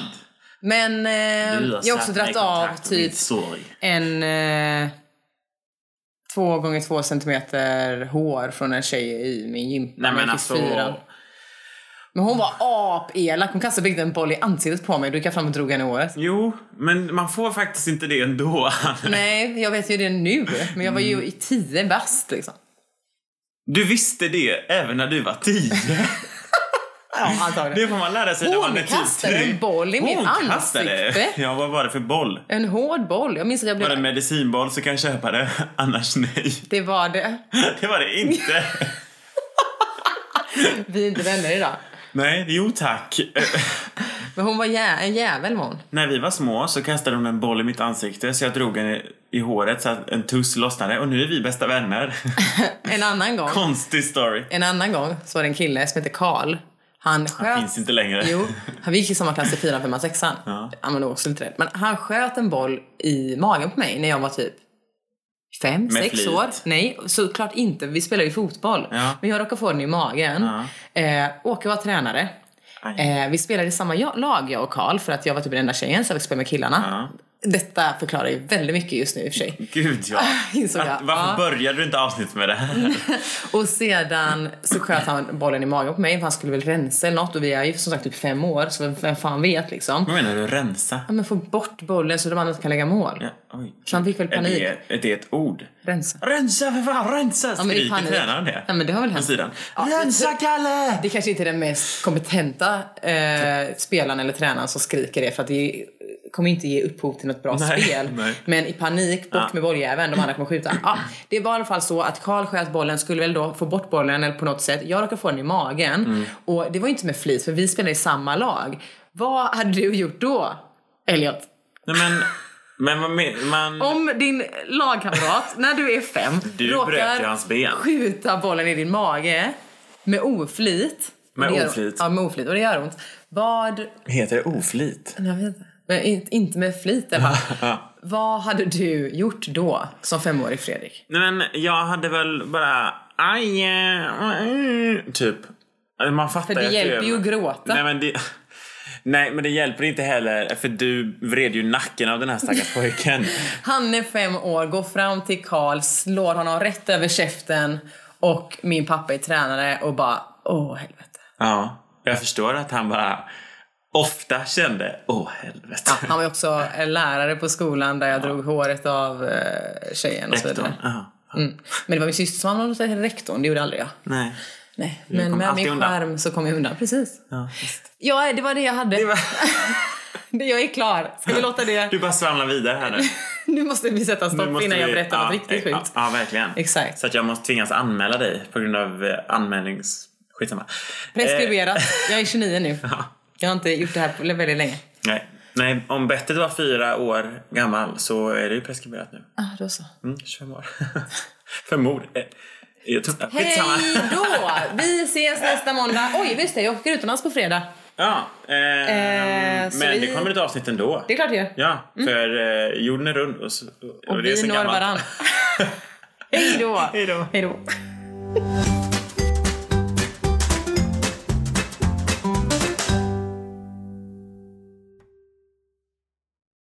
S2: Men eh,
S1: Du har
S2: jag har också
S1: satt mig i
S2: dragit av
S1: kontakt med
S2: typ
S1: min sorg.
S2: en eh, två gånger två centimeter hår från en tjej i min gympa.
S1: Nej
S2: när jag
S1: men
S2: gick i
S1: alltså.
S2: fyran. men hon var apelak. Hon kastade byggt en boll i ansiktet på mig. Då gick jag fram och drog henne i håret.
S1: Jo, men man får faktiskt inte det ändå.
S2: Nej, jag vet ju det nu. Men jag var ju i tio bast liksom.
S1: Du visste det även när du var tio.
S2: Ja, antagligen.
S1: Det får man lära sig när
S2: Hon
S1: man är typ
S2: kastade en
S1: tre.
S2: boll i mitt
S1: Hon kastade.
S2: ansikte.
S1: Ja, vad var det för boll?
S2: En hård boll. Jag minns att jag
S1: Var det en
S2: blev...
S1: medicinboll så kan jag köpa det. Annars nej.
S2: Det var det.
S1: Det var det inte.
S2: Vi är inte vänner idag.
S1: Nej, jo tack. Eh,
S2: Men hon var jä- en jävel var hon.
S1: När vi var små så kastade hon en boll i mitt ansikte så jag drog den i- i håret så att en tuss lossnade och nu är vi bästa vänner.
S2: En annan gång.
S1: Konstig story.
S2: En annan gång så var det en kille som hette Karl. Han sköt...
S1: Finns inte längre.
S2: Jo, han vi gick i samma klass i fyran, femman, sexan. Ja. Han var nog också lite rädd. Men han sköt en boll i magen på mig när jag var typ fem,
S1: Med
S2: sex
S1: flit.
S2: år. Nej, såklart inte. Vi spelar ju fotboll.
S1: Ja.
S2: Men jag råkade få den i magen. Eh, Åke var tränare.
S1: Aj.
S2: Eh, vi spelade i samma ja- lag jag och Karl för att jag var typ den enda tjejen så jag fick spela med killarna. Detta förklarar ju väldigt mycket just nu i och för sig.
S1: Gud ja.
S2: Insåg jag.
S1: Att, varför
S2: Ja. Mm.
S1: började du inte avsnittet med det här?
S2: Och sedan så sköt han bollen i magen på mig för han skulle väl rensa eller något och vi är ju som sagt typ fem år så vem- vem fan vet liksom.
S1: Vad menar du? Rensa?
S2: Ja men få bort bollen så de andra inte kan lägga mål.
S1: Ja, oj.
S2: Så han fick väl
S1: Är
S2: panik.
S1: det, är det ett ord?
S2: Rensa.
S1: Rensa för fan, rensa!
S2: Ja, men det är
S1: Skriker
S2: panik.
S1: tränaren det?
S2: Ja, men det har väl
S1: På
S2: hänt.
S1: sidan.
S2: Ja,
S1: rensa Kalle!
S2: Det kanske inte är den mest kompetenta eh,
S1: Typ.
S2: spelaren eller tränaren som skriker det för att det kommer inte ge upphov till något bra
S1: Nej,
S2: spel.
S1: nej.
S2: Men i panik, bort med bolljäveln, de andra kommer skjuta. Ja, det var i alla fall så att Karl sköt bollen, skulle väl då få bort bollen eller på något sätt. Jag råkade få den i magen
S1: Mm.
S2: och det var ju inte med flit för vi spelade i samma lag. Vad hade du gjort då, Elliot?
S1: Nej men, men vad men, man...
S2: Om din lagkamrat, när du är fem,
S1: Du bröt ju hans ben.
S2: skjuta bollen i din mage med oflit.
S1: Med
S2: Det gör-
S1: oflit.
S2: Ja, med oflit. Och det gör ont. Vad...
S1: Heter det oflit?
S2: Jag vet inte. Men in- inte med flit i alla fall. Vad hade du gjort då som femårig Fredrik?
S1: Nej men jag hade väl bara... Aj! eh, mm, Typ. Man fattar
S2: För det
S1: att du är-
S2: hjälper ju att gråta.
S1: Nej men det... Nej men det hjälper inte heller för du vred ju nacken av den här stackars pojken.
S2: Han är fem år, går fram till Karl, slår honom rätt över käften och min pappa är tränare och bara åh helvete.
S1: Ja. Jag förstår att han bara ofta kände åh helvete.
S2: Han var ju också lärare på skolan där jag drog håret av eh, tjejen och så
S1: Rektorn.
S2: vidare.
S1: Ja.
S2: Mm. Men det var min syster som använde sig av rektorn, det gjorde aldrig jag.
S1: Nej.
S2: Nej, men
S1: kom
S2: med
S1: alltid
S2: min
S1: undan.
S2: skärm så kom jag undan. Precis.
S1: Ja, visst.
S2: Ja, det var det jag hade. Det
S1: var-
S2: jag är klar. Ska vi låta det...
S1: Du bara svamlar vidare här nu.
S2: Nu måste vi sätta
S1: Nu
S2: stopp
S1: måste
S2: innan jag
S1: vi-
S2: berättar
S1: ja,
S2: något riktigt
S1: eh,
S2: sjukt.
S1: Ja, ja, verkligen.
S2: Exakt.
S1: Så att jag måste tvingas anmäla dig på grund av eh, anmälnings... Skitsamma. Eh,
S2: Preskriberat. Jag är 29 nu. Jag har inte gjort det här på väldigt länge.
S1: Nej. Nej, om bettet var fyra år gammal så är det ju preskriberat nu.
S2: Ah, då så.
S1: Mm, 25 år. För mord. Eh, Jag tror, ja,
S2: Hej
S1: skitsamma.
S2: då! Vi ses nästa måndag. Oj, just det. Jag åker utomlands på fredag.
S1: Ja, eh,
S2: Eh, så
S1: men
S2: vi-
S1: det kommer ett avsnitt ändå.
S2: Det är klart jag gör.
S1: Ja, för eh, jorden är rund och, så,
S2: Och
S1: det är
S2: vi
S1: så
S2: når
S1: gammalt.
S2: varann. Hej då!
S1: Hej då.
S2: Hej då.